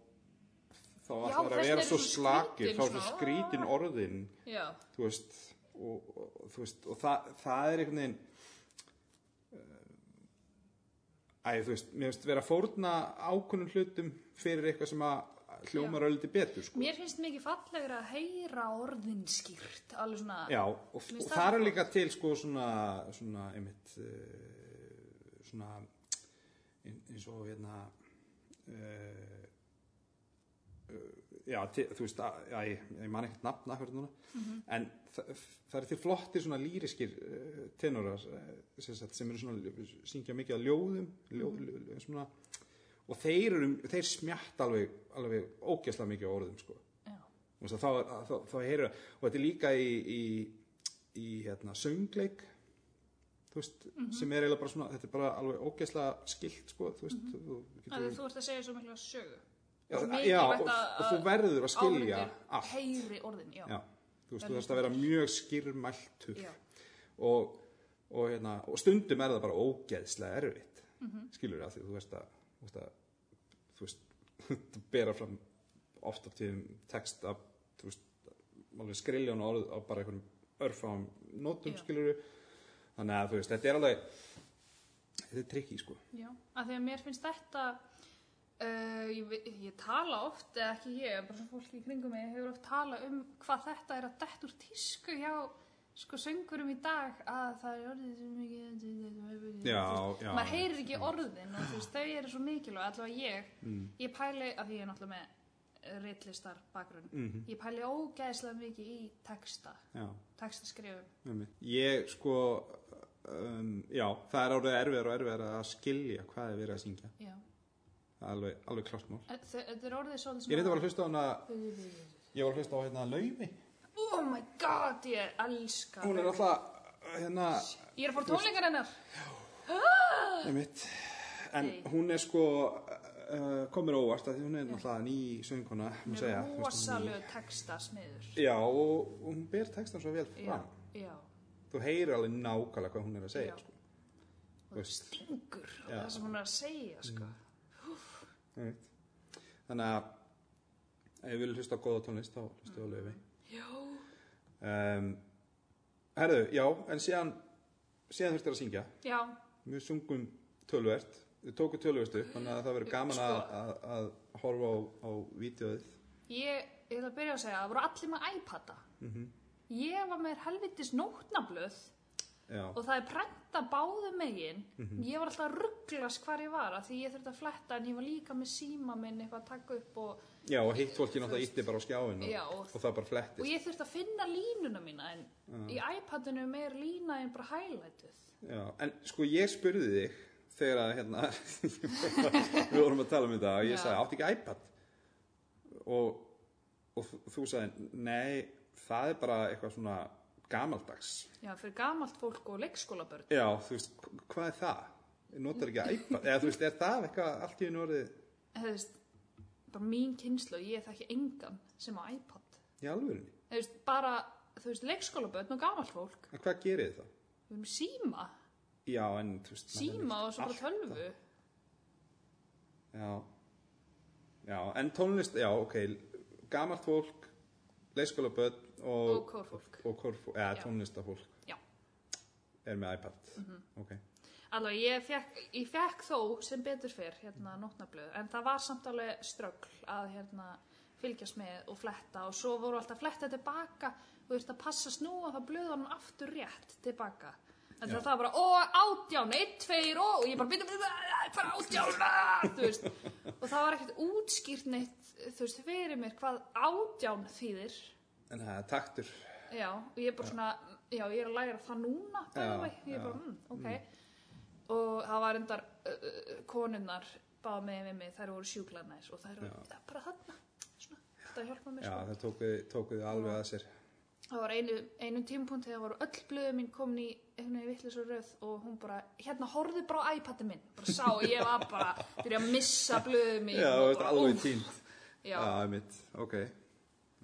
Speaker 1: Já,
Speaker 2: þá ætlar
Speaker 1: þess
Speaker 2: að vera
Speaker 1: vegna
Speaker 2: svo
Speaker 1: eru svo Ah.
Speaker 2: slakir
Speaker 1: skrítin,
Speaker 2: þá er svo
Speaker 1: svona,
Speaker 2: skrítin orðin
Speaker 1: Já.
Speaker 2: þú veist og, og, og þú veist, og það, það er einhvern veginn eh, æ, þú veist, mér veist vera að fórna ákunnum hlutum fyrir eitthvað sem að hljómar ölliti betur sko.
Speaker 1: Mér finnst mikið fallegra að heyra orðin skýrt, alveg svona,
Speaker 2: Já, og,
Speaker 1: Mér
Speaker 2: og
Speaker 1: finnst
Speaker 2: það
Speaker 1: það-
Speaker 2: er líka til sko svona, svona einmitt uh, svona ein- eins og hérna uh, eh, já, til, þú veist að, já, ég, ég man ekkert nafn akkur núna
Speaker 1: Mhm.
Speaker 2: en það, það er til flottir svona lýriskir uh, tenorar uh, sem, sagt, sem eru svona syngja mikið að ljóðum ljó,
Speaker 1: Mhm.
Speaker 2: ljó, ljó, svona, og þeir, eru, þeir smjatt alveg, alveg ógæslega mikið á orðum sko
Speaker 1: Já.
Speaker 2: og þá, þá, þá, þá heyrðu og þetta er líka í, í, í hérna, söngleik þú veist,
Speaker 1: Mhm.
Speaker 2: sem er eiginlega bara svona þetta er bara alveg ógeðslega skilt sko, þú veist, þú
Speaker 1: Af því
Speaker 2: getur
Speaker 1: þú ert að segja svo miklu sögu.
Speaker 2: já,
Speaker 1: svo
Speaker 2: já,
Speaker 1: mikilvægt
Speaker 2: og,
Speaker 1: að-
Speaker 2: og þú verður að skilja
Speaker 1: Áhorfendur
Speaker 2: allt
Speaker 1: Heyri orðin, já.
Speaker 2: já, þú veist, þú þarfst að vera mjög skýrmæltur
Speaker 1: Já.
Speaker 2: og, og, hérna, og stundum er það bara ógeðslega erfitt mm
Speaker 1: Mhm.
Speaker 2: -hmm. skilur það því þú veist að þú veist, að, þú veist (laughs) bera fram oft á tíðum text af þú veist, alveg skriljón orð á bara einhverjum örfáum nótum
Speaker 1: Já.
Speaker 2: skilur þannig að þú veist, þetta er alveg þetta er trikki sko
Speaker 1: Já, af því að mér finnst þetta uh, ég, ve- ég tala oft eða ekki ég, bara svona fólk í kringum mig hefur oft talað um hvað þetta er að dett úr tísku hjá sko söngurum í dag að það er orðið svo mikið
Speaker 2: Já,
Speaker 1: Þú veist,
Speaker 2: já.
Speaker 1: maður heyrir ekki orðin og þú veist, þau eru svo mikilvæg allavega ég,
Speaker 2: Mm.
Speaker 1: ég pæli af því ég er náttúrulega með reitlistar bakgrunn
Speaker 2: Mhm.
Speaker 1: ég pæli ógæðslega mikið í texta
Speaker 2: já
Speaker 1: textaskrifum
Speaker 2: Einmitt. Ég sko um, já, það er árið erfiðar og erfiðar að skilja hvað er verið að syngja
Speaker 1: já.
Speaker 2: það er alveg, alveg klart mál
Speaker 1: Þe- Þetta er orðið svolítið
Speaker 2: ég reyndi að var að hlusta á hana ég var að hlusta á hérna laumi
Speaker 1: Oh my god, ég elska
Speaker 2: hún er
Speaker 1: þau.
Speaker 2: alltaf hérna
Speaker 1: Ég er að fór tónleikar hennar
Speaker 2: einmitt. en
Speaker 1: Nei.
Speaker 2: hún er sko uh, komur óvart að hún er náttúrulega ný söngkona má
Speaker 1: Hún
Speaker 2: segja,
Speaker 1: er
Speaker 2: þú veist, hún
Speaker 1: rosalegu texta smiður
Speaker 2: er- já og og hún ber textan svo vel
Speaker 1: Já,
Speaker 2: fram
Speaker 1: já
Speaker 2: þú heyrir alveg nákvæmlega hvað hún er að segja
Speaker 1: Já.
Speaker 2: sko.
Speaker 1: Og
Speaker 2: Þú
Speaker 1: það
Speaker 2: veist.
Speaker 1: stingur á
Speaker 2: Já. Mm.
Speaker 1: það sem hún er að segja sko.
Speaker 2: Einmitt. þannig að ef við viljum hlusta á góða tónlist þá hlustu á löfi
Speaker 1: Já,
Speaker 2: um, herðu, já en síðan, síðan þurftir að syngja
Speaker 1: já,
Speaker 2: við sungum tölvert við tókum tölvert upp þannig að það verður gaman
Speaker 1: Sko-
Speaker 2: að, að, að horfa á, á vídeoið
Speaker 1: ég, ég ætla að byrja að segja að það voru allir með iPada
Speaker 2: Mhm.
Speaker 1: Ég var með helvitis nótnablöð
Speaker 2: já,
Speaker 1: og það er prenta báðu megin
Speaker 2: Mhm.
Speaker 1: ég var alltaf að rugglast hvar ég var af því ég þurfti að fletta en ég var líka með síma minn eitthvað að taka upp og,
Speaker 2: já og hitt fólki náttúrulega ítti bara á skjáin og,
Speaker 1: Já, og-
Speaker 2: og það bara
Speaker 1: og
Speaker 2: flettist
Speaker 1: ég þurfti að finna línuna mína en í iPadinu er lína en bara highlightið
Speaker 2: já, en sko ég spurði þig þegar að hérna (laughs) við vorum að tala um þetta og ég
Speaker 1: Já.
Speaker 2: sagði átti ekki iPad og, og þú- þú sagði nei, það er bara eitthvað svona gamaldags
Speaker 1: já, fyrir gamalt fólk og leikskólabörn
Speaker 2: já, þú veist, hv- hvað er það? notar ekki iPad, eða þú veist, er það eitthvað allt í einu orðið
Speaker 1: þú veist, bara mín kynslu ég þekki engan sem á iPad
Speaker 2: í alvörunni?
Speaker 1: þú veist, bara, þú veist, leikskólabörn og gamalt fólk
Speaker 2: En hvað gerir það?
Speaker 1: við erum síma,
Speaker 2: Já, en þú veist maður er
Speaker 1: síma
Speaker 2: ekkert
Speaker 1: og svo bara
Speaker 2: alltaf-
Speaker 1: tölvu
Speaker 2: Já. já, en tónlist, já, ok gamalt fólk, leyskóla börn og,
Speaker 1: og kórfólk
Speaker 2: og kórfólk, eða
Speaker 1: Já. Mhm.
Speaker 2: tónlistafólk
Speaker 1: Já.
Speaker 2: er með iPad ok,
Speaker 1: Alveg, ég fekk, ég fekk þó sem betur fyrr hérna nótnablöð, en það var samt alveg ströggl að hérna fylgjast með og fletta og svo voru alltaf að fletta tilbaka og þurfti að passa að snúa það blöðanum aftur rétt tilbaka. En
Speaker 2: Já.
Speaker 1: það var bara, ó, átján, einn, tveir, ó, og ég bara, byrja, byrja, bara átján, aah", þú veist. Og það var ekkert útskýrt neitt, þú veist, fyrir mér hvað átján þýðir.
Speaker 2: en það er taktur
Speaker 1: Já, og ég er bara svona, já, ég er að læra það núna,
Speaker 2: Já,
Speaker 1: dæmi, ég
Speaker 2: já. Mm.
Speaker 1: er bara, mm, ok. Og það var endar, uh, uh, konunnar báða með við mig, þær voru sjúklarnæs og þær voru já. bara þarna, svona, þetta hjálpa mér
Speaker 2: já,
Speaker 1: sko.
Speaker 2: það tókuði tókuð alveg að sér
Speaker 1: Það var einu, einum tímpúnti, það voru öll blöðu mín komin í einhvern veginn vittlis og röð og hún bara, hérna, horfðu bara á iPad-i minn, bara sá, og ég var bara, byrja að missa blöðu mín.
Speaker 2: já,
Speaker 1: og
Speaker 2: þú veist,
Speaker 1: bara,
Speaker 2: alveg
Speaker 1: úff.
Speaker 2: tínt
Speaker 1: Já,
Speaker 2: já, mitt, ok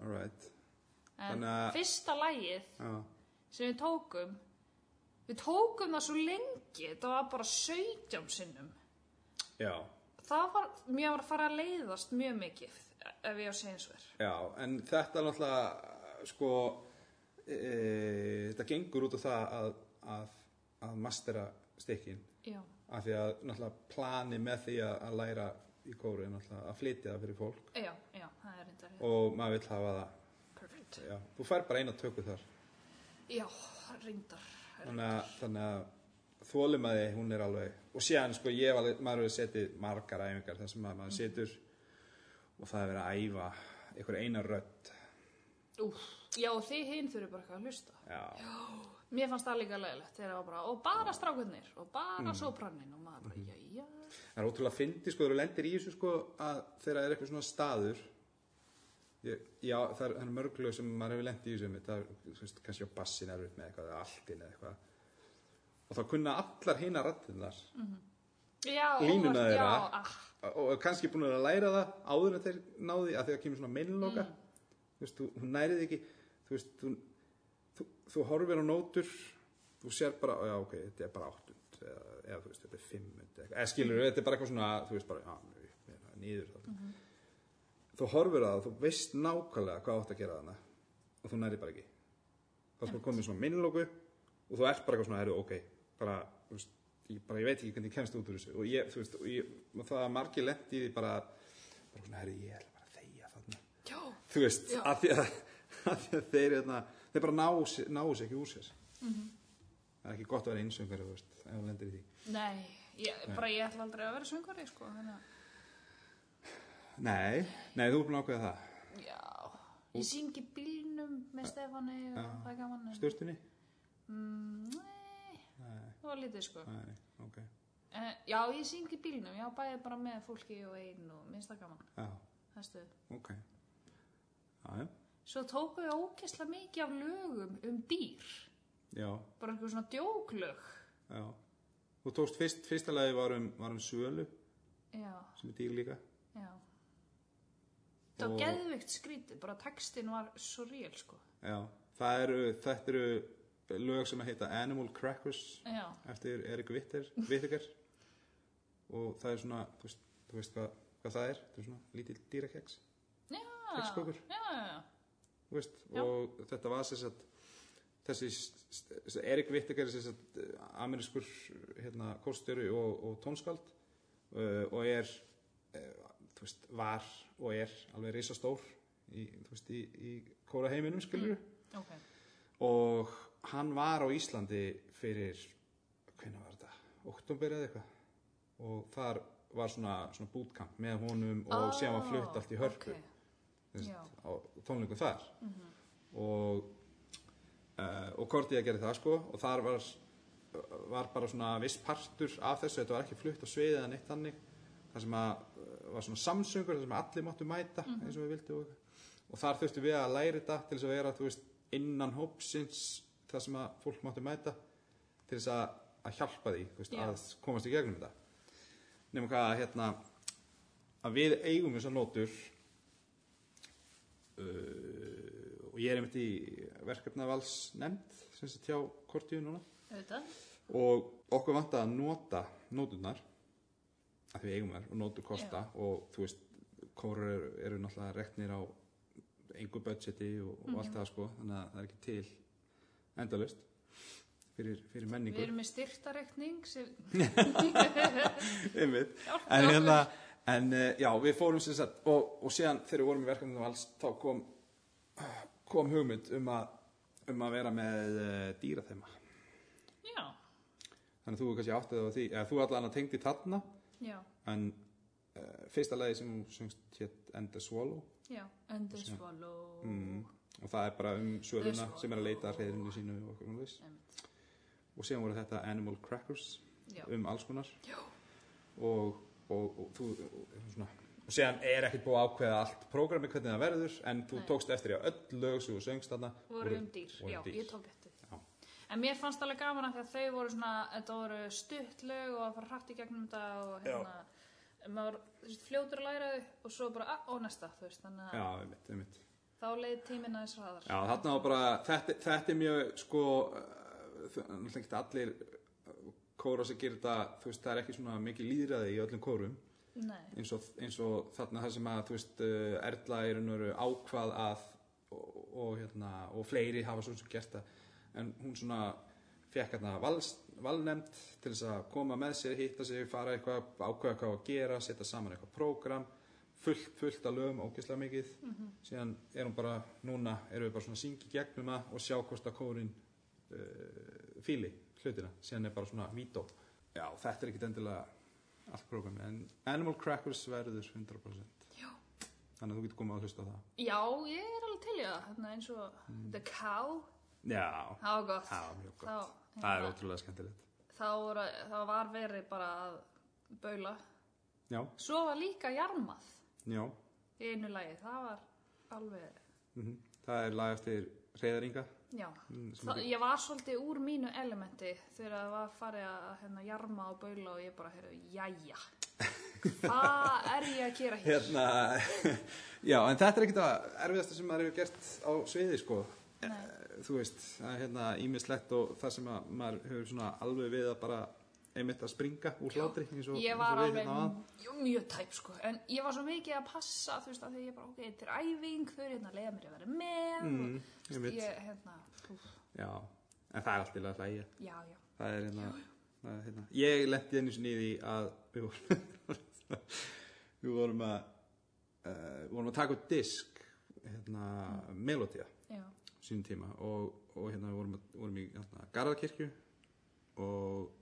Speaker 2: alright,
Speaker 1: en
Speaker 2: þannig að-
Speaker 1: fyrsta lagið
Speaker 2: já,
Speaker 1: sem við tókum við tókum það svo lengi þetta var bara 17 sinnum
Speaker 2: já
Speaker 1: það var, mér var að fara að leiðast mjög mikið ef ég á seinsver
Speaker 2: já, en þetta er náttúrulega sko e, þetta gengur út á það að, að, að mastera stykkin
Speaker 1: já,
Speaker 2: af því að náttúrulega plani með því að, að læra í kóru er náttúrulega að flytja það fyrir fólk
Speaker 1: já, já, það er reyndar rétt.
Speaker 2: og maður vill hafa það
Speaker 1: perfect
Speaker 2: já, þú fær bara eina töku þar
Speaker 1: já, reyndar
Speaker 2: þannig að, þannig að þólimaði hún er alveg og síðan sko ég hef alveg, maður hefur setið margar æfingar þar sem að maður setur og það er verið að æfa einhver eina rödd
Speaker 1: Úf. já, og þið hinn þurfi bara eitthvað að hlusta
Speaker 2: já,
Speaker 1: mér fannst það líka leiðilegt þegar það var bara, og bara strákunnir og bara mm. sóprannin og maður bara, já, já
Speaker 2: það er ótrúlega að fyndi sko þegar þú lendir í þessu sko að þegar það er eitthvað svona staður ég, já það er, það er mörglu sem maður hefur lendið í þessu einmitt. það er þú veist, kannski á bassin erfitt með eitthvað eða altin eða eitthvað og þá kunna allar hina rattinnar
Speaker 1: já,
Speaker 2: Línuna
Speaker 1: óvart,
Speaker 2: þeirra.
Speaker 1: já, ah,
Speaker 2: og og kannski búin að læra það áður en þeir náði að þegar kemur svona meinloka þú veist, þú, hún nærið ekki þú veist, þú, þú, þú horfir á nótur þú sér bara, já ok, þetta er bara áttund eða, eða þú veist, þetta er fimmund eða, eða skilur, þetta er bara eitthvað svona, þú veist bara já, upp með það, nýður það þú horfir á það, þú veist nákvæmlega hvað átt að gera þarna og þú nærið bara ekki þá er sko komið svona meinloku og þú ert bara eitthvað svona, herru, ok bara, þú veist, ég, bara, ég veit ekki hvernig ég kemst út úr þessu og ég, þú veist, og ég, og það að margir lent í því bara, bara svona, herru, ég ætla bara að þegja þarna
Speaker 1: já,
Speaker 2: þú veist,
Speaker 1: Já.
Speaker 2: af því að, (laughs) af því að þeir, hérna, þeir bara náu, sér- náu sér ekki úr sér það er ekki gott að vera einsöngar, þú veist, ef þú lendir í því
Speaker 1: nei ég, bara ég ætla aldrei að vera söngari, sko þannig að
Speaker 2: nei, nei, þú er búin að ákveða það
Speaker 1: Já, ég syngi bílnum með Stefáni og það er gaman en-
Speaker 2: stjórnstunni,
Speaker 1: mm, Nei,
Speaker 2: nei,
Speaker 1: það var lítið sko
Speaker 2: Nei, ok.
Speaker 1: uh, já ég syng í bílnum, já bæði bara með fólki og einn og minnst það gaman
Speaker 2: Já,
Speaker 1: það er stuð.
Speaker 2: ok. Já, já.
Speaker 1: svo tóku ég ókesslega mikið af lögum um dýr
Speaker 2: Já,
Speaker 1: bara einhver svona djóklög
Speaker 2: já. Þú tókst fyrst, fyrsta lagi var um, var um sölu
Speaker 1: já,
Speaker 2: sem er dýr líka.
Speaker 1: já það
Speaker 2: Og-
Speaker 1: var geðvikt skrítið, bara textin var svo real sko
Speaker 2: Já. Það eru, þetta eru lög sem heita Animal Crackers
Speaker 1: já,
Speaker 2: eftir Erik Vitter, Vittegar og það er svona, þú veist, þú veist hvað, hvað það er, þetta er svona lítill dýrakeks,
Speaker 1: já,
Speaker 2: kexkökur,
Speaker 1: já, já.
Speaker 2: þú veist,
Speaker 1: Ah. Já.
Speaker 2: og þetta var sér satt, þessi, s- s- þessi Erik Vittegar er sér satt amerískur, hérna, kórstjóri og, og tónskald uh, og er, uh, þú veist, var og er alveg risastór í, þú veist, í, í kóra heiminum, skiljur,
Speaker 1: ok,
Speaker 2: og hann var á Íslandi fyrir hvernig var þetta, oktober eða eitthvað og þar var svona, svona bootcamp með honum og
Speaker 1: Ah,
Speaker 2: síðan var flutt allt í hörpu
Speaker 1: ok.
Speaker 2: okay.
Speaker 1: já.
Speaker 2: á tónleikum þar og uh, og Korti að gera það sko og þar var var bara svona viss partur af þessu, þetta var ekki flutt á sviðið eða neitt þannig þar sem að uh, var svona samsöngur, þar sem allir máttu mæta eins og við vildum og, og þar þurftum við að læra þetta til þess að vera, þú veist, innan hópsins þar sem að fólk máttu mæta til þess að, að hjálpa því þú veist,
Speaker 1: Já.
Speaker 2: að komast í gegnum þetta nema hvað að hérna að við eigum þessar nótur uh, og ég er einmitt í verkefnavalds nefnd sem sé tjá kortíu núna
Speaker 1: auðvitað
Speaker 2: og okkur vant að nota nóturnar að því við eigum þær og nótur kosta og þú veist, kórar eru, eru náttúrulega reknir á engu budgeti og, og allt það sko þannig að það er ekki til endalust fyrir, fyrir
Speaker 1: Við
Speaker 2: menningu
Speaker 1: erum með styrtareikning sem...
Speaker 2: (laughs) einmitt
Speaker 1: Hjálpið
Speaker 2: en
Speaker 1: okkur.
Speaker 2: hérna en eh, já, við fórum sem sagt og, og síðan þegar við vorum í verkefnum alls þá kom, kom hugmynd um að um að vera með uh, dýrathema
Speaker 1: Já,
Speaker 2: þannig að þú kannski áttið á því eða þú allan að tengdi þarna
Speaker 1: já,
Speaker 2: en uh, fyrsta lagi sem hún söngst hétt End the Swallow
Speaker 1: já, and the swallow
Speaker 2: mm, og það er bara um svöluna
Speaker 1: Swallow.
Speaker 2: sem er að leita að hreðinu sínu og okkur um þess
Speaker 1: Einmitt.
Speaker 2: og síðan voru þetta Animal Crackers
Speaker 1: Já,
Speaker 2: um alls konar
Speaker 1: Já.
Speaker 2: og, og, og þú og, svona, og síðan er ekkert búið að ákveða allt prógrami hvernig það verður en þú
Speaker 1: Nei.
Speaker 2: tókst eftir í að öll lög sem þú söngst þarna
Speaker 1: voru um dýr,
Speaker 2: voru
Speaker 1: já,
Speaker 2: um dýr.
Speaker 1: ég tók eftir því
Speaker 2: Já.
Speaker 1: En mér fannst alveg gaman að því að þau voru svona, þetta voru stuttlög og að fara hratt í gegnum þetta og hérna, maður þú veist, fljótur að læra þau og svo bara, ah, og næsta, þú veist, þannig að
Speaker 2: já, einmitt, einmitt.
Speaker 1: þá leið tíminn aðeins hraðar.
Speaker 2: Já, þarna var bara, þetta, þetta er mjög sko, uh, það- náttúrulega ekki allir uh, kóra sem gerir þetta, þú veist, það er ekki svona mikið líðræði í öllum kórum
Speaker 1: Nei,
Speaker 2: eins og, eins og þarna það sem að, þú veist, uh, Erla er unnur ákvað að og, og, hérna, og fleiri hafa svona sem gert það en hún svona fekk hérna vals, valnefnd til þess að koma með sér, hitta sig, fara eitthvað, ákveða hvað á að gera, setja saman eitthvað prógram fullt, fullt að lögum, ógeðslega mikið síðan er hún bara, núna erum við bara svona að syngja í gegnum það og sjá hvort að kórin uh, fíli hlutina, síðan er bara svona vító já, þetta er ekkit endilega allt prógrami, en Animal Crackers verður 100%
Speaker 1: já.
Speaker 2: þannig að þú getur komið að hlusta á það
Speaker 1: Já, ég er alveg til í það, hérna eins og The Cow,
Speaker 2: já,
Speaker 1: það var gott.
Speaker 2: Mm. það var mjög gott
Speaker 1: Þá,
Speaker 2: það er
Speaker 1: hérna,
Speaker 2: ótrúlega skemmtilegt
Speaker 1: þá, voru, þá var verið bara að baula.
Speaker 2: já,
Speaker 1: Svo var líka jarmað
Speaker 2: já,
Speaker 1: í einu lagi, það var alveg,
Speaker 2: mhm, það er lag eftir reyðaringa
Speaker 1: já.
Speaker 2: sem
Speaker 1: Það,
Speaker 2: heitir-
Speaker 1: ég var svolítið úr mínu elementi þegar það var farið að hérna, jarma og baula og ég bara, heyrðu, jæja,
Speaker 2: (laughs)
Speaker 1: hvað er ég að gera hér?
Speaker 2: hérna, (laughs) já, en þetta er ekkit að erfiðasta sem maður hefur gert á sviði, sko
Speaker 1: Nei.
Speaker 2: þú veist, það er hérna ímislegt og það sem að maður hefur svona alveg við að bara einmitt að springa úr hlátri eins og,
Speaker 1: ég
Speaker 2: eins
Speaker 1: var
Speaker 2: og við
Speaker 1: alveg
Speaker 2: hérna áðan.
Speaker 1: mjög, mjög tæp sko en ég var svo mikið að passa þú veist að því ég bara ok, þetta er æfing þau eru hérna að leiða mér að vera með
Speaker 2: Mm,
Speaker 1: og, þú
Speaker 2: einmitt.
Speaker 1: veist, ég hérna, úf,
Speaker 2: já, en það er alltaf að hlæja
Speaker 1: já, já
Speaker 2: það er hérna, það er hérna. ég lendi einu sinni í því að við vorum (laughs) við vorum að uh, vorum að taka upp disk hérna, mm. melodía
Speaker 1: Já,
Speaker 2: sínum tíma og, og hérna við vorum, að, vorum í hérna, Garðakirkju og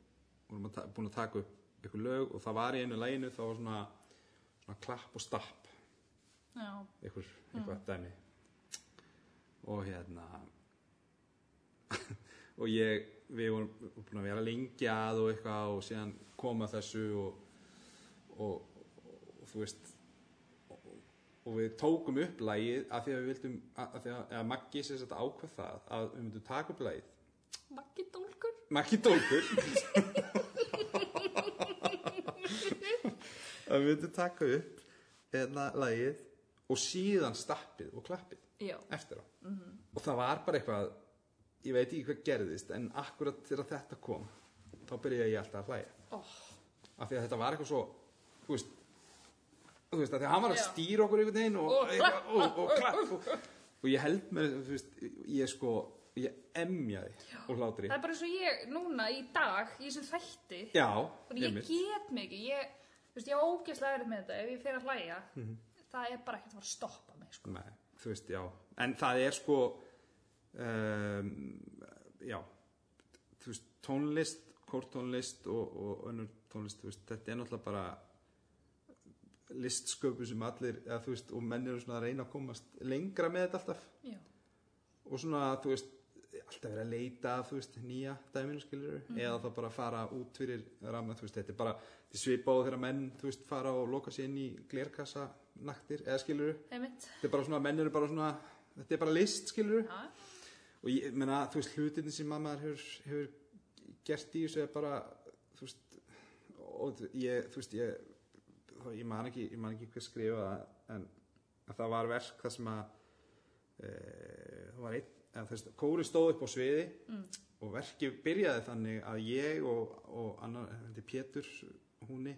Speaker 2: vorum að ta- búin að taka upp ykkur lög og það var í einu læginu þá var svona, svona klapp og stapp
Speaker 1: já,
Speaker 2: ykkur, ykkur dæmi og hérna (laughs) og ég, við vorum búin að vera lengi að og eitthvað og síðan koma þessu og, og, og, þú veist og, og við tókum upp lægið af því að við vildum að, að, því að, að Maggi sér þetta ákveð það að við myndum taka upp lægið
Speaker 1: Maggi Dólkur
Speaker 2: Maggi Dólkur að við myndum taka upp eða lægið og síðan stappið og klappið
Speaker 1: Já,
Speaker 2: eftir á og það var bara eitthvað ég veit ekki hvað gerðist en akkurat þegar þetta kom þá byrjaði ég alltaf að hlæja
Speaker 1: oh,
Speaker 2: af því að þetta var eitthvað svo þú veist, þú veist af því að hann var að
Speaker 1: Já.
Speaker 2: stýra okkur einhvern veginn og,
Speaker 1: Og
Speaker 2: eitthvað, og, og klapp og, og ég held með þú veist, ég sko ég emjaði og hlátri
Speaker 1: það er bara eins og ég núna í dag í þessu þætti
Speaker 2: já,
Speaker 1: og ég
Speaker 2: einmitt.
Speaker 1: get mig ekki ég, þú veist, ég á ógeðslega erið með þetta ef ég fer að hlæja
Speaker 2: Mhm.
Speaker 1: það er bara ekkert að fara að stoppa mig sko.
Speaker 2: Nei, þú veist, já en það er sko um, já þú veist, tónlist, kórtónlist og, og önnur tónlist, þú veist, þetta er náttúrulega bara listsköpu sem allir, eða, þú veist, og menn eru svona að reyna að komast lengra með þetta alltaf
Speaker 1: Já.
Speaker 2: og svona, þú veist, alltaf verið að leita þú veist, nýja dæminu skilur eða þá bara fara út fyrir ramma þú veist, þetta er bara, þetta er svipað á þegar menn þú veist, fara og loka sér inn í glerkassa naktir, eða skilur
Speaker 1: einmitt
Speaker 2: þetta er bara svona, menn eru bara svona þetta er bara list, skilur
Speaker 1: Já.
Speaker 2: og ég meina, þú veist, hlutinni sem að maður hefur, hefur gert í þessu er bara, þú veist og þú- ég, þú veist, ég þá- ég man ekki, ég man ekki hvað skrifa það en að það var verk það sem að e, það var einn, eða þú veist, kóri stóð upp á sviði
Speaker 1: Mm.
Speaker 2: og verkið byrjaði þannig að ég og, og annar, þetta er Pétur húni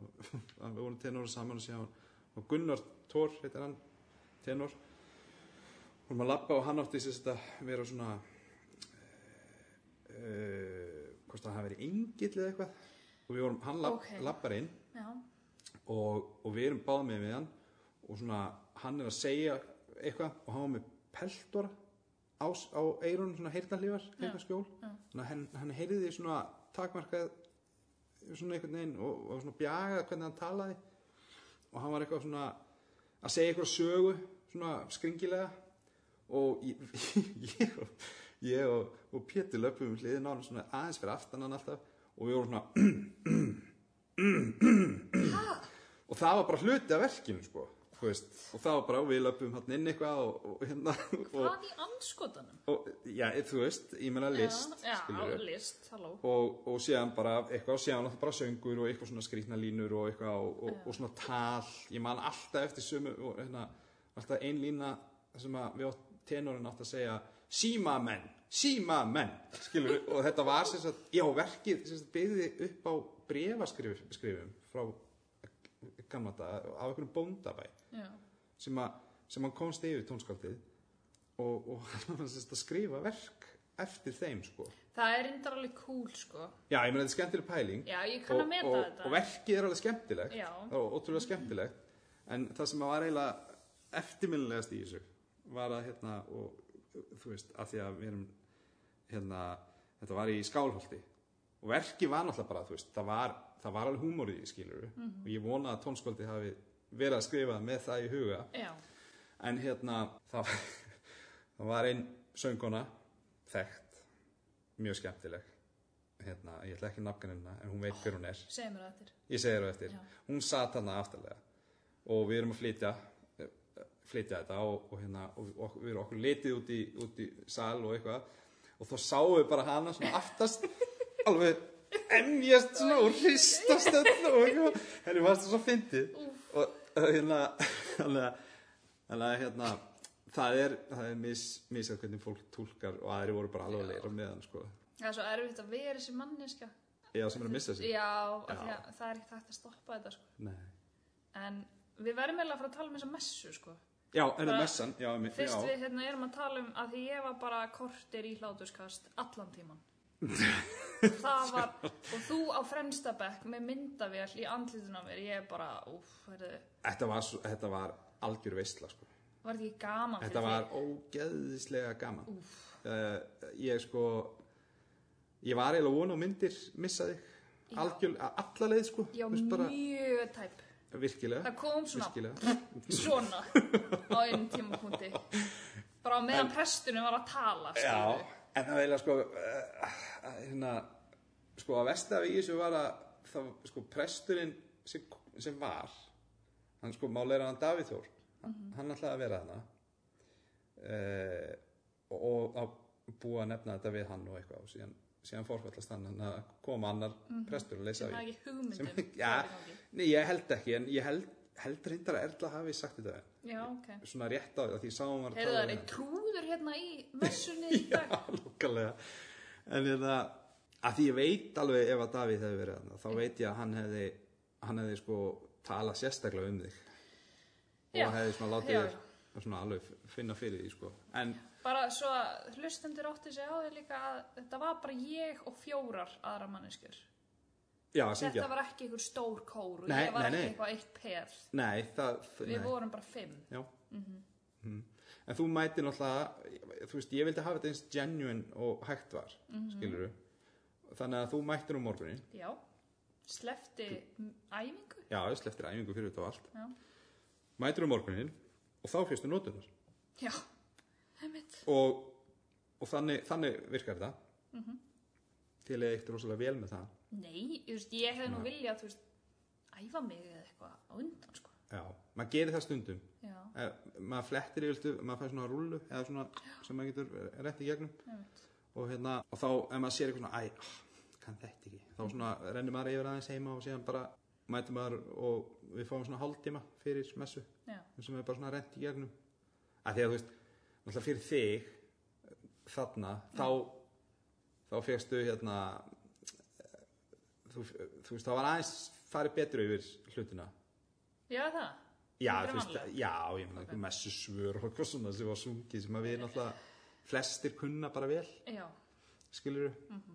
Speaker 2: og (laughs) við vorum tenor saman og síðan og Gunnar Thor, heitir hann tenor vorum að labba og hann átti sérst að vera svona uh, hvort það hafi verið engill eða eitthvað og við vorum, hann lab,
Speaker 1: Ókei.
Speaker 2: labbar inn
Speaker 1: Já.
Speaker 2: og, og við erum báð með við hann og svona hann er að segja eitthvað og hann var með peltora á, s- á eirunum svona heyrnarlífar, heyrnarskjól
Speaker 1: já.
Speaker 2: þannig að hann, hann heyrði svona takmarkað svona einhvern veginn og, og svona bjagað hvernig hann talaði og hann var eitthvað svona að segja eitthvað sögu svona skringilega og ég, (laughs) ég, og- ég og, og Pétur löpum hliðin á hann svona aðeins fyrir aftan hann alltaf og við vorum svona (clears throat) og það var bara hluti af verkinu sko, þú veist, og það var bara við löpum hann inn eitthvað og, og hérna (laughs) og,
Speaker 1: hvað í anskotanum
Speaker 2: og já, þú veist, ég meina list
Speaker 1: já,
Speaker 2: skilurðu.
Speaker 1: já, list, halló
Speaker 2: og, og síðan bara eitthvað og síðan náttúrulega bara söngur og eitthvað svona skrýtna línur og eitthvað og, og, og svona tal ég man alltaf eftir sömu og hérna, alltaf ein lína sem að við átt tenorinn átt að segja síma menn, síma menn skilur við, og þetta var sem sagt já, verkið sem sagt byggði upp á brefaskrifum frá gamla þetta, af einhverjum bóndabæ
Speaker 1: já.
Speaker 2: sem, að, sem hann komst yfir tónskaldið og, og hann var sem sagt að skrifa verk eftir þeim sko
Speaker 1: það er reyndar alveg cool sko
Speaker 2: Já, ég meina þetta er skemmtileg pæling
Speaker 1: já, ég kann að meta
Speaker 2: og,
Speaker 1: þetta
Speaker 2: og verkið er alveg skemmtilegt
Speaker 1: Já.
Speaker 2: það var ótrúlega skemmtilegt en það sem var eiginlega eftirminnilegast í þessu var að hérna og þú veist, að því að við erum hérna, þetta var í skálholti og verkið var náttúrulega bara, þú veist það var, það var alveg húmórið í skiluru
Speaker 1: Mhm.
Speaker 2: og ég vona að tónskvöldi hafi verið að skrifa með það í huga
Speaker 1: já,
Speaker 2: en hérna það (laughs) var, það var ein sönguna þekkt, mjög skemmtileg hérna, ég ætla ekki nafngrunna en hún veit hver hún er,
Speaker 1: segir mér það eftir
Speaker 2: ég segir það eftir
Speaker 1: Já.
Speaker 2: hún satt hana aftarlega og við erum að flytja eh, flytja þetta og, og hérna og, og við erum okkur litið út í, út í sal og eitthvað og þá sáum við bara hana svona
Speaker 1: (laughs)
Speaker 2: aftast alveg emjast svona og hristast öll og eitthvað henni varst það svo fyndið og, og hérna (laughs) þannig að- þannig að hérna það er, það er mis, misjað hvernig fólk túlkar og aðri voru bara alveg að leira með hann sko
Speaker 1: það er svo erfitt að vera þessi manneska
Speaker 2: eða sem er að missa sig
Speaker 1: já, af því
Speaker 2: Já.
Speaker 1: að það er ekkert hægt að stoppa þetta sko.
Speaker 2: Nei.
Speaker 1: en við verðum eiginlega að fara að tala um þessa messu sko.
Speaker 2: já, en það
Speaker 1: Bara-
Speaker 2: messan já, mi-
Speaker 1: fyrst
Speaker 2: já.
Speaker 1: við hérna erum að tala um að því ég var bara kortir í hláturskast allan
Speaker 2: (laughs)
Speaker 1: tíman það var, og þú á fremsta bekk með myndavél í andlitun á mér ég er bara, úf, verðu
Speaker 2: Þetta, var, svo- þetta var algjör veistla sko.
Speaker 1: var þetta ekki gaman
Speaker 2: þetta
Speaker 1: fyrir
Speaker 2: var ógeðislega gaman uh, ég sko ég var eiginlega von á myndir missa þig algjör, alla leið sko
Speaker 1: því já,
Speaker 2: Þú veist, bara,
Speaker 1: mjög tæp
Speaker 2: virkilega,
Speaker 1: það kom svona,
Speaker 2: virkilega.
Speaker 1: svona á einum tímapunkti bara á meðan prestunum var að tala
Speaker 2: já,
Speaker 1: skilurðu.
Speaker 2: en það var eiginlega sko uh, hérna, sko að vestafi í þessu var að það, sko presturinn sem, sem var hann sko máleira hann Davíð Þór
Speaker 1: Mhm.
Speaker 2: hann ætlaði að vera hana uh, og að búa að nefna þetta við hann og eitthvað og síðan, síðan fórfællast hann hann að koma annar prestur og leysa
Speaker 1: Mhm. sem hafa
Speaker 2: við
Speaker 1: ekki um hugmyndum
Speaker 2: Sem- já, nei, ég held ekki en ég held, held reyndar að Erla hafi sagt þetta við hann.
Speaker 1: já, ok
Speaker 2: svona rétt á því að því sáum var að
Speaker 1: heyrðu það
Speaker 2: tala
Speaker 1: er
Speaker 2: við
Speaker 1: einn trúður hérna í
Speaker 2: (laughs)
Speaker 1: messunni í dag
Speaker 2: hann lókalega en ég það að því ég veit alveg ef að Davíð hefði verið hann þá veit ég að hann hefði hann hefði sko talað sérstaklega um þig
Speaker 1: Já,
Speaker 2: og hefði svona látið
Speaker 1: já,
Speaker 2: þér svona alveg finna fyrir því sko en
Speaker 1: bara svo að hlustendur átti sig á því líka að þetta var bara ég og fjórar aðra manneskjur
Speaker 2: já að
Speaker 1: þetta
Speaker 2: syngja
Speaker 1: var ekki einhver stór kór og
Speaker 2: Nei,
Speaker 1: ég var
Speaker 2: nei, nei.
Speaker 1: ekki eitthvað eitt peð
Speaker 2: nei það
Speaker 1: við
Speaker 2: nei.
Speaker 1: vorum bara fimm
Speaker 2: Já. Mhm. En þú mætir náttúrulega, þú veist, ég vildi hafa þetta eins genuine og hægt var,
Speaker 1: Mhm.
Speaker 2: mm Þannig að þú mættir um morgunin,
Speaker 1: já, slefti m- æfingu
Speaker 2: já, ég sleftir æfingu fyrir þetta og allt,
Speaker 1: já,
Speaker 2: mætir um morgunin og þá fyrstu nótunar.
Speaker 1: já, heimitt
Speaker 2: Og, og þannig, þannig virkar þetta. Mm -hmm. Til eitt rosalega vel með það.
Speaker 1: nei, þú veist, ég hefði nú viljað þú veist, æfa mig eða eitthvað á undan sko
Speaker 2: Já, maður gerir það stundum.
Speaker 1: já,
Speaker 2: Eh, maður flettir yfirleitt, maður fær svona rullu eða svona sem maður getur eh, rétt í gegnum.
Speaker 1: heimitt
Speaker 2: og hérna, og þá ef maður sér eitthvað svona, æ, ah, kann þetta ekki þá svona rennir maður yfir aðeins heima og síðan bara mætum maður og við fáum svona hálftíma fyrir messu
Speaker 1: já,
Speaker 2: sem er bara svona rent í gegnum að því að þú veist, náttúrulega fyrir þig þarna, þá þá fegstu hérna eh, þú, þú veist, þá var aðeins farið betur yfir hlutina
Speaker 1: já það
Speaker 2: já,
Speaker 1: Heldur
Speaker 2: þú
Speaker 1: en
Speaker 2: veist,
Speaker 1: vanlega?
Speaker 2: já, ég meina okay. messu svör og eitthvað svona sem var sungið sem að við náttúrulega flestir kunna bara vel
Speaker 1: já,
Speaker 2: skilur